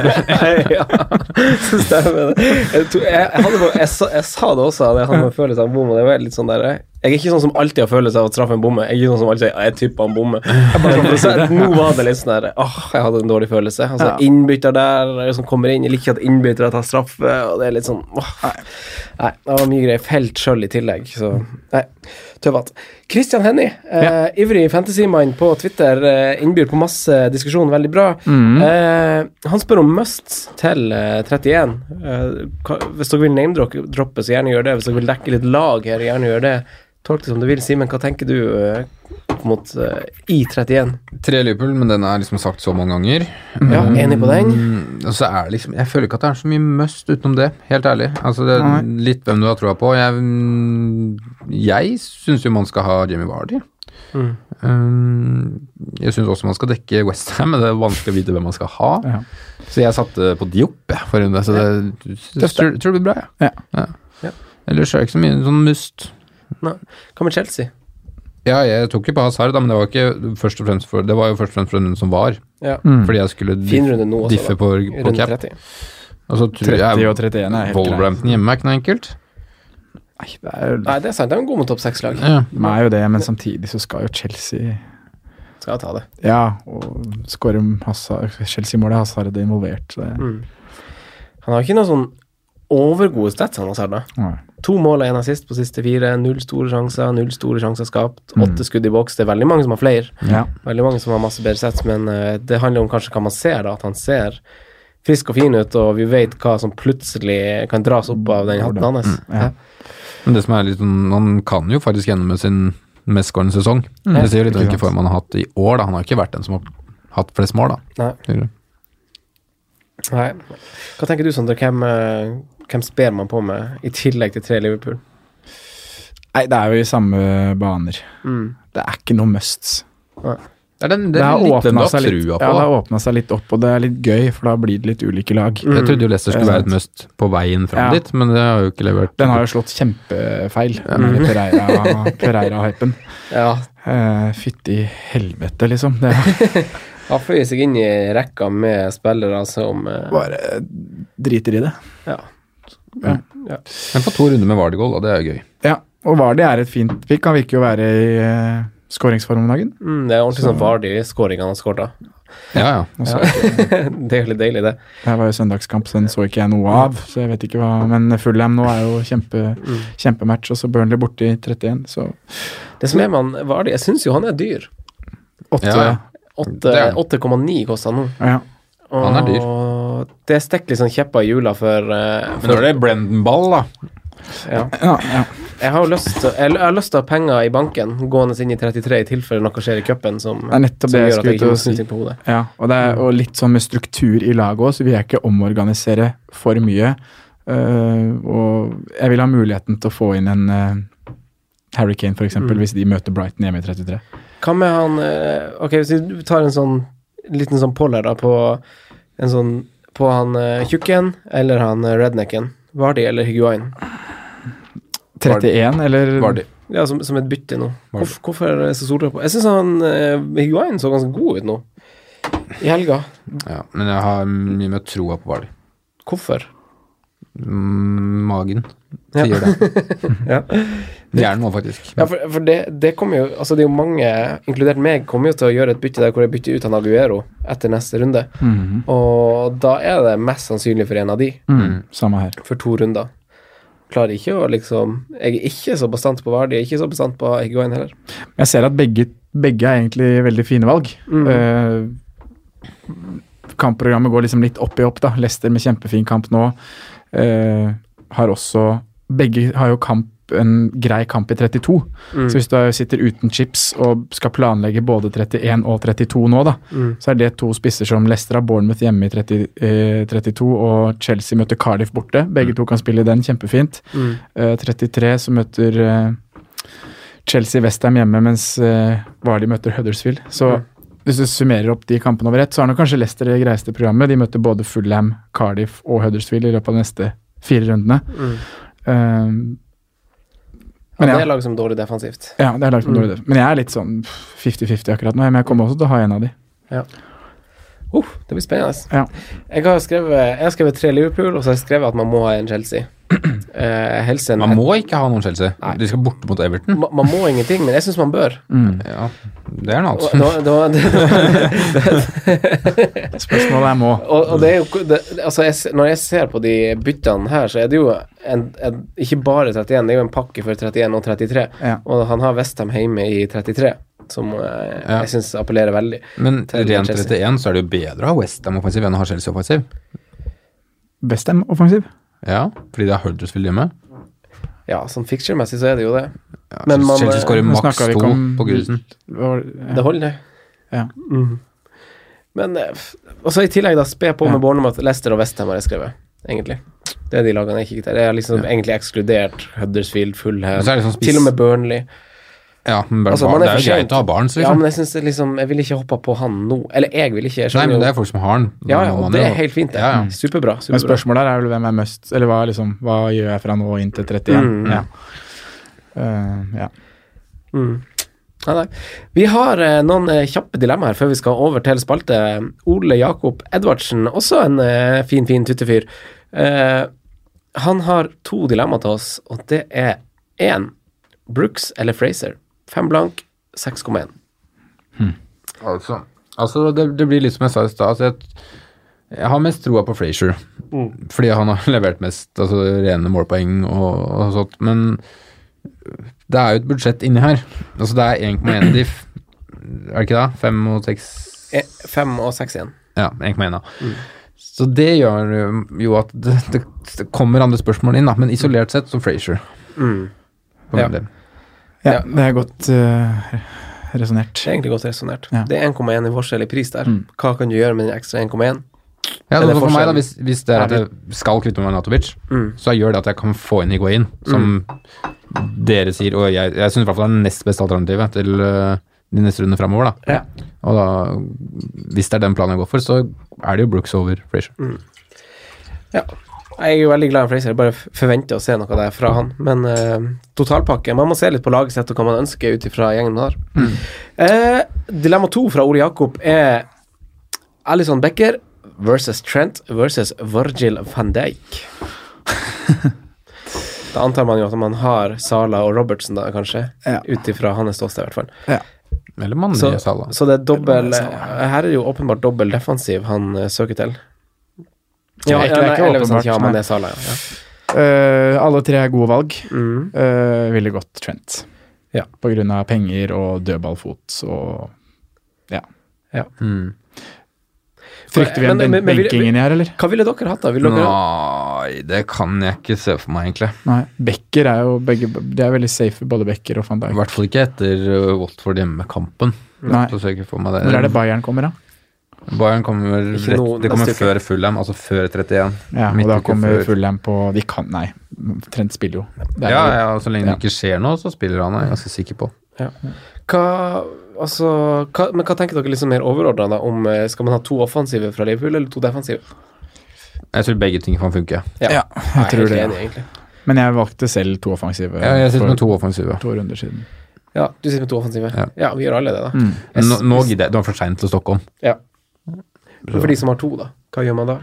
Speaker 3: ja, så stemmer det. Jeg, tror- jeg, jeg, hadde, bare- jeg, sa- jeg sa det også, at jeg hadde en følelse av bom. Og det var litt sånn der, jeg, jeg er ikke sånn som alltid har følelse av å straffe en bomme. Jeg er ikke sånn som alltid sier «Ja, 'jeg tippa en bomme'. Jeg bare, sånn, så, nå var det litt sånn der Åh, jeg hadde en dårlig følelse. Altså, Innbytter der som kommer inn. Jeg liker ikke at innbyttere tar straffe. Og det er litt sånn åh. Nei, det var mye greier. Felt sjøl i tillegg, så Nei, tøvete. Christian Hennie, eh, ivrig fantasymann på Twitter, eh, innbyr på masse diskusjon, veldig bra. Eh, han spør om musts til eh, 31. Eh, hva, hvis dere vil name-droppe, så gjerne gjør det. Hvis dere vil dekke litt lag her, gjerne gjør det. Tolk det som du vil. Simen, hva tenker du eh, opp mot eh, I31?
Speaker 2: Tre Liverpool, men den er liksom sagt så mange ganger.
Speaker 3: Ja, enig på den?
Speaker 2: Mm, Og så er det liksom Jeg føler ikke at det er så mye must utenom det, helt ærlig. Altså det er Litt hvem du har troa på. Jeg, mm, jeg syns jo man skal ha Jimmy Vardy.
Speaker 4: Mm.
Speaker 2: Um, jeg syns også man skal dekke Westham, men det er vanskelig å vite hvem man skal ha.
Speaker 4: Ja.
Speaker 2: Så jeg satte på Diop jeg, for runde, så det jeg tror, tror det blir bra.
Speaker 4: Ja.
Speaker 2: jeg. Ja. Ellers er det ikke så mye sånn must.
Speaker 3: Nei. Hva med Chelsea?
Speaker 2: Ja, jeg tok jo på Hazard, da, men det var, ikke først og fremst for, det var jo først og fremst for den som var.
Speaker 3: Ja.
Speaker 2: Fordi jeg skulle
Speaker 3: Fin runde nå også,
Speaker 2: diffe
Speaker 3: da.
Speaker 2: på, på
Speaker 3: Runde
Speaker 2: cap.
Speaker 3: 30.
Speaker 2: Og så tror
Speaker 4: 30
Speaker 2: jeg
Speaker 4: og 31 er helt greit.
Speaker 2: Wolverhampton hjemme er ikke noe enkelt.
Speaker 4: Nei, det er jo
Speaker 3: Nei, det er sant. De er gode mot topp seks-lag.
Speaker 2: Ja.
Speaker 4: de er jo det, men samtidig så skal jo Chelsea
Speaker 3: Skal jeg ta det.
Speaker 4: Ja, og skårer Hazard- Chelsea-målet Hazard er involvert. så Det.
Speaker 2: Mm.
Speaker 3: Han har ikke noen sånn overgode stats, han har særlig.
Speaker 4: Nei.
Speaker 3: To mål og én assist på siste fire. Null store sjanser, null store sjanser skapt. Åtte skudd i boks. Det er veldig mange som har flere.
Speaker 4: Mm. Ja.
Speaker 3: Veldig mange som har masse bedre sets, men eh, det handler om kanskje hva man ser, da. At han ser frisk og fin ut, og vi vet hva som plutselig kan dras opp av den hatten hans.
Speaker 4: Mm, Ja.
Speaker 2: Men det som er litt sånn, han kan jo faktisk gjennom med sin mestskårende sesong. Det sier jo litt om
Speaker 4: Ikke
Speaker 2: hvilken
Speaker 4: sant.
Speaker 2: form han har hatt i år, da. Han har ikke vært den som har hatt flest mål, da.
Speaker 3: Nei.
Speaker 2: Tydeligere.
Speaker 3: Nei. Hva tenker du, Sondre? Hvem, eh, hvem sper man på med, i tillegg til tre Liverpool?
Speaker 4: Nei, det er jo i samme baner. Det er ikke noe musts.
Speaker 2: Det er den, Mm.
Speaker 4: Det
Speaker 2: det
Speaker 4: har
Speaker 2: er litt den du
Speaker 4: åpna
Speaker 2: har
Speaker 4: seg, litt-
Speaker 2: trua
Speaker 4: ja, det
Speaker 2: på.
Speaker 4: har åpnet seg litt opp, og det er litt gøy, for da blir det litt ulike lag.
Speaker 2: Jeg trodde jo Leicester skulle
Speaker 4: Det er
Speaker 2: være et must på veien fram
Speaker 4: Ja.
Speaker 2: dit, men det har jo ikke levert.
Speaker 4: Den har jo slått kjempefeil, mm. Pereira-hypen.
Speaker 3: Ja,
Speaker 4: Eh, Fytti helvete, liksom. Det er
Speaker 3: han føyer seg inn i rekka med spillere som eh,
Speaker 4: bare driter i det.
Speaker 3: ja.
Speaker 2: Men på to runder med Vardegål, da. Det er jo gøy.
Speaker 4: Ja, og Vardy er et fint pick. Han virker jo å være i eh, skåringsform om dagen.
Speaker 3: Mm, det er ordentlig sånn Vardy-skåring han har skåret da.
Speaker 2: Ja, ja.
Speaker 4: Også,
Speaker 3: Det er jo litt deilig, det.
Speaker 4: Det her var jo søndagskamp, så den så ikke jeg noe av. Så jeg vet ikke hva, Men Fulham nå er jo kjempe,
Speaker 2: Mm.
Speaker 4: kjempematch, og så Burnley borte i 31, så
Speaker 3: Det som er med han Vardy, jeg syns jo han er dyr.
Speaker 4: åtte.
Speaker 2: Ja, ja. Det er han.
Speaker 3: 8- 8,9 koster han nå.
Speaker 4: Ja.
Speaker 3: Og
Speaker 2: Han er dyr.
Speaker 3: Det stikker litt sånn kjepper i hjula for, eh,
Speaker 2: Men nå er det Brendan Ball, da.
Speaker 3: ja.
Speaker 4: Ja, ja.
Speaker 3: Jeg har jo lyst til jeg har lyst til å ha penger i banken gående inn i 33 i tilfelle noe skjer i cupen som,
Speaker 4: Det er nettopp
Speaker 3: som
Speaker 4: det jeg
Speaker 3: gjør at
Speaker 4: skulle
Speaker 3: jeg
Speaker 4: til
Speaker 3: ikke
Speaker 4: å
Speaker 3: må snu
Speaker 4: si.
Speaker 3: ting på hodet.
Speaker 4: Ja, og, det er, og litt sånn med struktur i laget òg, så vil jeg ikke omorganisere for mye. Eh, og jeg vil ha muligheten til å få inn en eh, Harry Kane, f.eks.,
Speaker 2: Mm.
Speaker 4: eksempel hvis de møter Brighton hjemme i 33.
Speaker 3: Hva med han eh, Ok, hvis vi tar en sånn liten sånn poller da på en sånn på han eh, tjukken eller han eh, rednecken. Vardy eller Higuain.
Speaker 4: 31, eller
Speaker 2: Vardy.
Speaker 3: Ja, som, som et bytte nå.
Speaker 2: Vardy.
Speaker 3: Hvorfor, hvorfor er det så soltrøkk på? Jeg syns han eh, Higuain så ganske god ut nå. I helga.
Speaker 2: Ja, men jeg har mye mer troa på Vardy.
Speaker 3: Hvorfor?
Speaker 2: Mm, Magen
Speaker 3: Ja.
Speaker 2: sier det.
Speaker 3: Ja.
Speaker 2: Hjernen må faktisk.
Speaker 3: Ja, for, for det, det kommer jo Altså, det er jo mange, inkludert meg, kommer jo til å gjøre et bytte der hvor jeg bytter ut han Aguero etter neste runde.
Speaker 4: Mhm.
Speaker 3: Og da er det mest sannsynlig for en av de,
Speaker 4: Mm, samme her.
Speaker 3: for to runder. Klarer ikke å liksom Jeg er ikke så bastant på Vardi, jeg er ikke så bastant på Higuain heller.
Speaker 4: Jeg ser at begge, begge er egentlig veldig fine valg. Eh, kampprogrammet går liksom litt opp i opp, da. Leicester med kjempefin kamp nå. Eh, har også Begge har jo kamp opp en grei kamp i 32. Så hvis du er- sitter uten chips og skal planlegge både 31 og 32 nå, da,
Speaker 3: Mm.
Speaker 4: så er det to spisser som Leicester har Bournemouth hjemme i 30, eh, 32, og Chelsea møter Cardiff borte.
Speaker 3: Mm.
Speaker 4: Begge to kan spille den, kjempefint. Eh, 33 så møter eh, Chelsea Westham hjemme, mens eh, Vardy møter Huddersfield. Så
Speaker 3: Mm.
Speaker 4: hvis du summerer opp de kampene over ett, så har nok kanskje Leicester det greieste programmet. De møter både Fulham, Cardiff og Huddersfield i løpet av de neste fire rundene. Eh,
Speaker 3: Mm. Ja,
Speaker 4: Men
Speaker 3: det er
Speaker 4: ja.
Speaker 3: lag som er dårlig defensivt.
Speaker 4: ja, det er lagt som
Speaker 3: Mm.
Speaker 4: dårlig def- Men jeg er litt sånn 50-50 akkurat nå. Men jeg kommer også til å ha en av de.
Speaker 3: Uh, det blir spennende.
Speaker 4: Ja.
Speaker 3: Jeg har skrevet, jeg har skrevet tre Liverpool, og så har jeg skrevet at man må ha en Chelsea. Eh, helst en
Speaker 2: Man må ikke ha noen Chelsea. De skal borte mot Everton.
Speaker 3: Ma- man må ingenting, men jeg syns man bør.
Speaker 4: Mm.
Speaker 2: Ja, det er noe
Speaker 3: Og, det
Speaker 2: annet.
Speaker 3: var- det var-
Speaker 4: Spørsmålet er må.
Speaker 3: og, og det er jo det, altså jeg, s- Når jeg ser på de byttene her, så er det jo en, en, ikke bare 31, det er jo en pakke for 31 og 33.
Speaker 4: Ja.
Speaker 3: Og han har Westham hjemme i 33, som eh,
Speaker 2: Ja.
Speaker 3: jeg syns appellerer veldig.
Speaker 2: Men
Speaker 3: Til
Speaker 2: rent
Speaker 3: Chelsea.
Speaker 2: 31 så er det jo bedre å ha Westham offensiv enn å ha Chelsea offensiv.
Speaker 4: Bestem offensiv.
Speaker 2: Ja, fordi det er Huddersfield hjemme.
Speaker 3: Ja, sånn fixture-messig så er det jo det.
Speaker 2: Ja,
Speaker 3: Men
Speaker 2: Chelsea-
Speaker 3: man- eh,
Speaker 2: Chelsea skårer
Speaker 4: Nå
Speaker 2: maks
Speaker 4: snakker vi ikke
Speaker 2: to
Speaker 4: om-
Speaker 2: på grusen.
Speaker 4: Hva var det?
Speaker 3: Det holder, det.
Speaker 4: Ja.
Speaker 3: Mhm. Men eh, f- Og så i tillegg, da, spe på med Bournemouth, Leicester og Westham har jeg skrevet, egentlig. Det er de lagene jeg ikke der. Jeg har liksom egentlig ekskludert Huddersfield, Fulham,
Speaker 2: Og så er det sånn spiss-
Speaker 3: til og med Burnley.
Speaker 2: Ja, men bare
Speaker 3: Altså,
Speaker 2: barn,
Speaker 3: man er
Speaker 2: det er
Speaker 3: for
Speaker 2: jo
Speaker 3: sent.
Speaker 2: greit å ha barn, så
Speaker 3: Ja,
Speaker 2: liksom.
Speaker 3: men jeg synes det liksom Jeg vil ikke hoppe på han nå. Eller jeg vil ikke. Jeg
Speaker 2: Nei,
Speaker 3: skjønner
Speaker 2: men det
Speaker 3: jo
Speaker 2: er folk som har den.
Speaker 3: Ja, ja,
Speaker 2: Man
Speaker 3: og
Speaker 2: er
Speaker 3: det er
Speaker 2: jo-
Speaker 3: helt fint, det.
Speaker 2: Ja, ja.
Speaker 3: Superbra.
Speaker 4: Men
Speaker 3: superbra.
Speaker 4: spørsmålet her er vel hvem er must, eller hva, liksom, hva gjør jeg fra nå og inn til 31?
Speaker 3: Mm.
Speaker 4: Ja. Eh, ja.
Speaker 3: Mm. Ja, nei. Vi har eh, noen eh, kjappe dilemmaer før vi skal over til spalte. Ole Jakob Edvardsen, også en eh, fin, fin tuttefyr. Eh, han har to dilemmaer til oss, og det er én Brooks eller Fraser. Fem blank, 6,1.
Speaker 2: Altså, altså det, det blir litt som jeg sa i stad. Altså jeg, jeg har mest troa på Frazier. Fordi han har levert mest altså rene målpoeng og, og sånt. Men det er jo et budsjett inni her. Altså det er 1,1 diff. Er det ikke det? 5 og 6
Speaker 3: Eh, Fem og seks igjen.
Speaker 2: Ja, 1,1 da. Så det gjør jo at det, det, det kommer andre spørsmål inn, da. Men isolert sett så Frazier. For
Speaker 3: Ja.
Speaker 2: min del.
Speaker 4: Ja,
Speaker 3: Ja.
Speaker 4: det er godt uh, resonnert.
Speaker 3: Det er egentlig godt resonnert.
Speaker 4: Ja.
Speaker 3: Det er 1,1 i forskjell i pris der. Hva kan du gjøre med den ekstra 1,1? Er det
Speaker 2: Ja, altså for meg da,
Speaker 3: forskjellen?
Speaker 2: hvis, hvis det er at jeg skal kvitte meg med Natovic, så gjør det at jeg kan få inn Higuain, som dere sier, og jeg, jeg syns i hvert fall det er det nest beste alternativet til øh, de neste rundene framover. Da.
Speaker 3: Ja.
Speaker 2: Og da, hvis det er den planen jeg går for, så er det jo Brooks over Frazier.
Speaker 3: Ja. Jeg er jo veldig glad i Fraser. Jeg bare f- forventer å se noe der fra han. Men eh, totalpakke Man må se litt på laget sitt og hva man ønsker ut ifra gjengen man har. Eh, dilemma to fra Ole Jakob er Alison Becker versus Trent versus Virgil van Dijk. da antar man jo at man har Sala og Robertsen, da, kanskje.
Speaker 4: Ja.
Speaker 3: Ut ifra hans ståsted, i hvert fall.
Speaker 2: Eller mannen
Speaker 3: Så,
Speaker 2: i Salah.
Speaker 3: så det er dobbel Her er det jo åpenbart dobbel defensiv han eh, søker til. Ja,
Speaker 4: Det er ikke- det er
Speaker 3: nei,
Speaker 4: ikke
Speaker 3: eller hvis han
Speaker 4: åpenbart,
Speaker 3: ikke har
Speaker 4: nei.
Speaker 3: Mané Salah, ja.
Speaker 4: Eh, alle tre er gode valg.
Speaker 3: Mm.
Speaker 4: Uh, ville gått Trent.
Speaker 3: Ja.
Speaker 4: På grunn av penger og dødballfot og ja.
Speaker 3: Ja.
Speaker 2: Mm.
Speaker 4: Frykter vi en
Speaker 3: Men- men-
Speaker 4: ben-
Speaker 3: men vil-
Speaker 4: benking inn i her, eller?
Speaker 3: Hva ville dere hatt, da? Ville dere
Speaker 2: Nei, det kan jeg ikke se for meg, egentlig.
Speaker 4: Nei. Becker er jo begge Det er veldig safe, både Becker og van
Speaker 2: I
Speaker 4: Dijk.
Speaker 2: hvert fall ikke etter øh, Watford hjemme-kampen.
Speaker 4: Nei.
Speaker 2: Så ser jeg ikke for meg det.
Speaker 4: Når er det Bayern kommer, da?
Speaker 2: Bayern kommer,
Speaker 3: Ikke
Speaker 2: rett,
Speaker 3: noe
Speaker 2: det kommer
Speaker 3: neste uke.
Speaker 2: før Fulham, altså før 31.
Speaker 4: Ja, og
Speaker 2: Midtuke
Speaker 4: da kommer
Speaker 2: før.
Speaker 4: Fulham på De kan Nei, Trent spiller jo. Det er
Speaker 2: Ja,
Speaker 4: jo-
Speaker 2: ja, så lenge
Speaker 4: ja.
Speaker 2: det ikke skjer noe, så spiller han, er jeg ganske sikker på.
Speaker 3: hva, altså, hva, men hva tenker dere liksom mer overordna om eh, Skal man ha to offensive fra Liverpool, eller to defensive?
Speaker 2: Jeg tror begge ting kan funke.
Speaker 4: Ja, jeg tror
Speaker 3: helt
Speaker 4: det.
Speaker 3: Enig, egentlig.
Speaker 4: Men jeg valgte selv to offensive
Speaker 2: Ja, jeg sitter
Speaker 4: for
Speaker 2: med to offensive.
Speaker 4: to runder siden.
Speaker 3: Ja, du sitter med to offensive. Ja,
Speaker 2: Ja.
Speaker 3: vi gjør alle det, da.
Speaker 4: Mm.
Speaker 2: Men Nå, nå gidder jeg. Det var for seint til Stockholm.
Speaker 3: Ja. For de som har to, da. Hva gjør man da?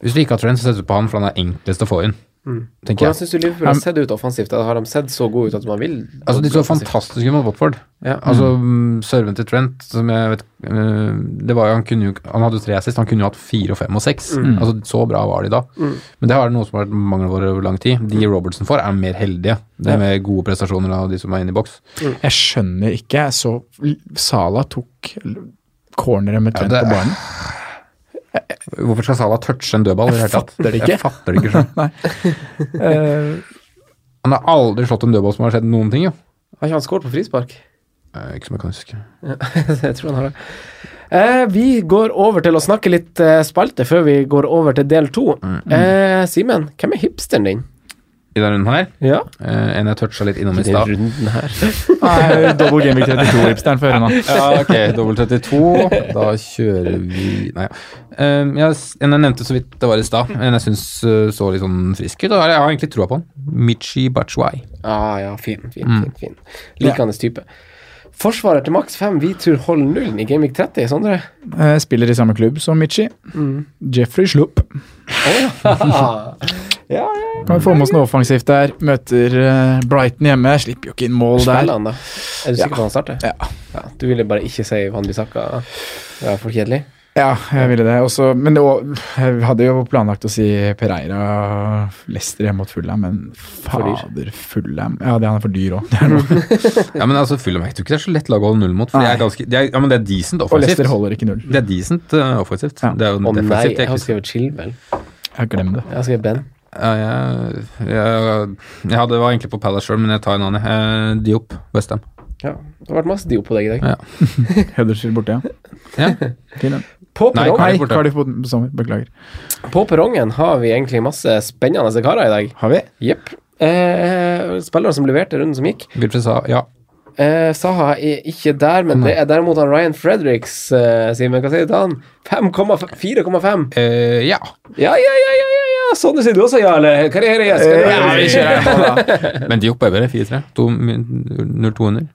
Speaker 2: Hvis du ikke har Trent, så setter du på han, for han er enklest å få inn. Tenker
Speaker 3: Mm. Hvordan
Speaker 2: jeg.
Speaker 3: syns du Liverpool har sett ut offensivt? Da? Har de sett så gode ut at man vil
Speaker 2: Altså, De så fantastiske ut mot Watford.
Speaker 3: Ja.
Speaker 2: Altså, mm, Serven til Trent som jeg vet, øh, det var jo, han, kunne jo, han hadde jo tre assist, han kunne jo hatt fire og fem og seks.
Speaker 3: Mm.
Speaker 2: Altså, så bra var de da. Men det har noe som har vært mangelen vår over lang tid. De
Speaker 3: Mm.
Speaker 2: Robertson får, er mer heldige. Det med gode prestasjoner av de som er inne i boks.
Speaker 4: Jeg skjønner ikke. Jeg så Sala tok l- corneret med Trent
Speaker 2: det-
Speaker 4: på barnen.
Speaker 2: Hvorfor skal Salah touche en dødball? i hele tatt?
Speaker 4: fatter det ikke.
Speaker 2: Jeg fatter det ikke selv.
Speaker 4: Eh,
Speaker 2: Han har aldri slått en dødball som har skjedd noen ting, jo.
Speaker 3: Har ikke han skåret på frispark?
Speaker 2: Eh, Ikke som jeg kan huske.
Speaker 3: jeg tror han har det. Eh, vi går over til å snakke litt eh, spalte før vi går over til del to. Eh, Simen, hvem er hipsteren din?
Speaker 2: I denne runden her,
Speaker 3: Ja,
Speaker 2: eh, en jeg toucha litt innom i
Speaker 3: i
Speaker 2: stad.
Speaker 3: runden her.
Speaker 4: Nei, Double Gaming 32-hipsteren før nå.
Speaker 2: Ja, ok, dobbel 32. Da kjører vi Nei. Eh, jeg, en jeg nevnte så vidt det var i stad, en jeg syns så litt sånn frisk ut. og Jeg har egentlig troa på han. Michi Bachwai.
Speaker 3: Ah, ja, fin, fin, fin, fin. Likende type. Forsvarer til maks 5, vi tror hold nullen i Gamevik 30, Sondre.
Speaker 4: Eh, Spiller i samme klubb som Mitchie. Jeffrey Slupp.
Speaker 3: Mm. Ja,
Speaker 4: Kan vi få med oss noe offensivt der. Møter eh, Brighton hjemme. Slipper jo ikke inn mål der.
Speaker 3: Spiller han, da? Er du sikker på at han starter?
Speaker 4: Ja.
Speaker 3: Ja, Du ville bare ikke si Van Bissaka? Det var for kjedelig?
Speaker 4: Ja, jeg ville det. Også, men det var, jeg hadde jo planlagt å si Pereira Leicester hjemme mot Fulham, men fader Fulham Ja, det han er for dyr òg.
Speaker 2: Ja, men altså, Fulham jeg tror ikke det er så lett lag å holde null mot. For de er ganske, de er, ja, men det er decent
Speaker 4: Og Leicester
Speaker 2: offensivt.
Speaker 4: holder ikke null.
Speaker 2: Det er decent eh, offensivt.
Speaker 4: Ja.
Speaker 2: Det er jo
Speaker 3: Å nei,
Speaker 2: defensivt.
Speaker 3: jeg
Speaker 2: Jeg,
Speaker 3: har
Speaker 2: jeg,
Speaker 3: skrevet Chilwell.
Speaker 4: Jeg glem det.
Speaker 3: Jeg har skrevet Ben.
Speaker 2: jeg, jeg, jeg hadde, var egentlig på Palace sjøl, men jeg tar en annen. Eh, Diop, Westham.
Speaker 3: Ja, det har vært masse dio på deg i dag.
Speaker 2: Ja.
Speaker 4: Huddersfield borte, ja.
Speaker 2: Ja.
Speaker 4: Fin, den.
Speaker 3: På,
Speaker 2: Nei,
Speaker 3: perrong,
Speaker 4: Nei,
Speaker 2: borte.
Speaker 4: Cardiff på sommer. Beklager.
Speaker 3: på perrongen har vi egentlig masse spennende karer i dag.
Speaker 4: Har vi?
Speaker 3: Jepp. Eh, spillere som leverte runden som gikk.
Speaker 2: Wilfred sa ja.
Speaker 3: Eh, Saha er ikke der, men det er derimot han Ryan Fredericks, eh, Simen. Hva sier du til han? 5,5 4,5.
Speaker 2: Eh, ja.
Speaker 3: Ja, ja, ja, ja, ja, ja. Sondre sier du også ja, eller? Karrieregjest.
Speaker 4: Eh,
Speaker 3: Karriere,
Speaker 2: Men Diop er bedre. 4-3. To- 0-200.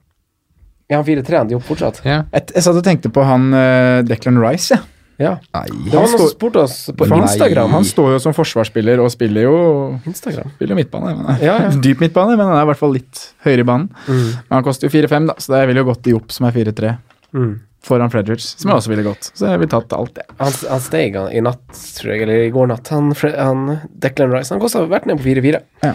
Speaker 3: ja, han 4-3, han de opp fortsatt.
Speaker 2: Ja.
Speaker 4: Jeg, jeg satt og tenkte på han eh, Declan Rice, jeg.
Speaker 3: Ja.
Speaker 2: Nei.
Speaker 3: Det var
Speaker 4: Han
Speaker 3: noen som
Speaker 4: står-
Speaker 3: spurte oss på
Speaker 4: For han-
Speaker 3: Instagram.
Speaker 4: Han står jo som forsvarsspiller og spiller jo
Speaker 3: Instagram.
Speaker 4: spiller jo midtbane. Men han er,
Speaker 3: Ja, Mm. ja.
Speaker 4: Dyp midtbane, men han er i hvert fall litt høyere i banen. Men han koster jo 4-5, da, så det ville jo gått i Jopp, som er 4-3,
Speaker 3: Mm.
Speaker 4: foran Fredriks, som jeg også ville gått. Så jeg ville tatt alt, jeg.
Speaker 3: Han, han steg han, i natt, tror jeg, eller i går natt. Han, Fre- han Declan Rice Han kosta vært ned på 4-4.
Speaker 4: Ja.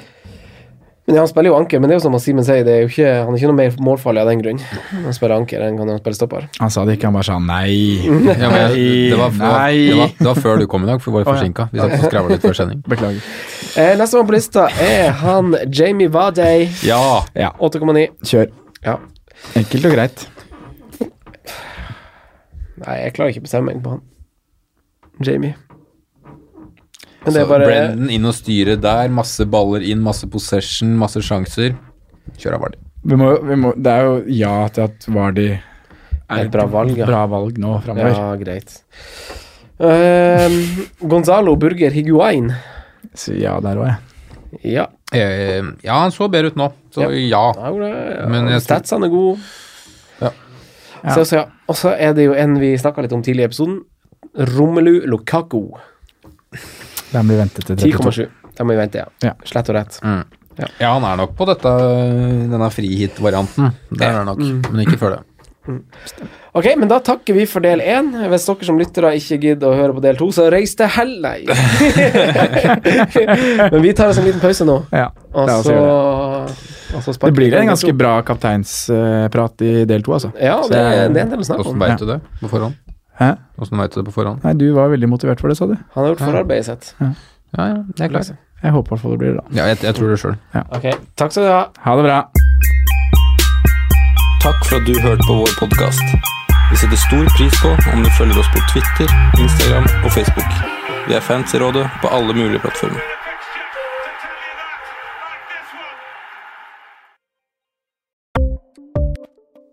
Speaker 3: Men ja, Han spiller jo anker, men det er jo som han Simen sier, det er jo ikke, han er ikke noe mer målfarlig av den grunn. Han spiller anker enn han spiller stopper.
Speaker 4: Han sa det ikke, han bare sa nei.
Speaker 2: Ja, men jeg, det, var, det, var,
Speaker 4: Nei.
Speaker 2: det, var, det var før du kom i dag, for vi var
Speaker 4: Å, ja.
Speaker 2: forsinka. Vi satt og skravla litt før sending.
Speaker 4: Beklager.
Speaker 3: Eh, Nestemann på lista er han Jamie Vardey.
Speaker 2: Ja!
Speaker 3: 8,9.
Speaker 4: Kjør.
Speaker 3: Ja.
Speaker 4: Enkelt og greit.
Speaker 3: Nei, jeg klarer ikke å bestemme meg på han. Jamie. Men det
Speaker 2: Så
Speaker 3: er bare
Speaker 2: Brendan inn og styre der. Masse baller inn, masse possession, masse sjanser. Kjør av Vardy.
Speaker 4: Vi må, vi må, det er jo ja til at Vardi
Speaker 3: er et bra valg. Ja.
Speaker 4: bra valg nå framover.
Speaker 3: Ja, greit. Ehm, Gonzalo Burger Higuain.
Speaker 4: Så ja, der òg, jeg.
Speaker 3: Ja.
Speaker 2: Eh, ja, han så bedre ut nå, så ja.
Speaker 3: ja, jo, det-
Speaker 2: Men jeg tror-
Speaker 3: Statsene er gode.
Speaker 2: Ja.
Speaker 3: Så, så, ja. Og så er det jo en vi snakka litt om tidligere i episoden. Romelu Lukaku.
Speaker 4: Den blir ventet til 32.
Speaker 3: 10,7. Da må vi vente, ja.
Speaker 4: Ja.
Speaker 3: Slett og rett.
Speaker 2: Ja, han er nok på dette, denne frihit-varianten. Der er han nok, men ikke før det.
Speaker 3: Ok, men da takker vi for del én. Hvis dere som lyttere ikke gidder å høre på del to, så reis til helvete! men vi tar oss en liten pause nå,
Speaker 4: Ja,
Speaker 3: og
Speaker 4: la oss
Speaker 3: så,
Speaker 4: gjøre det.
Speaker 3: og så sparker
Speaker 4: Det blir
Speaker 3: vi
Speaker 4: en
Speaker 3: del
Speaker 4: ganske
Speaker 3: to.
Speaker 4: bra kapteinsprat i del to, altså.
Speaker 3: Ja, det, er- det er en del å snakke om.
Speaker 2: Åssen veit du det på forhånd?
Speaker 4: Hæ?
Speaker 2: Hvordan vet du det på forhånd?
Speaker 4: Nei, du var veldig motivert for det, sa du.
Speaker 3: Han har gjort forarbeidet sitt.
Speaker 2: Ja, ja, det er klart.
Speaker 4: Jeg håper i hvert fall det blir det, da.
Speaker 2: Ja, jeg, jeg tror det sjøl.
Speaker 3: Ok, takk skal du ha.
Speaker 4: Ha det bra.
Speaker 5: Takk for at du hørte på vår podkast. Vi setter stor pris på om du følger oss på Twitter, Instagram og Facebook. Vi er fans i rådet på alle mulige plattformer.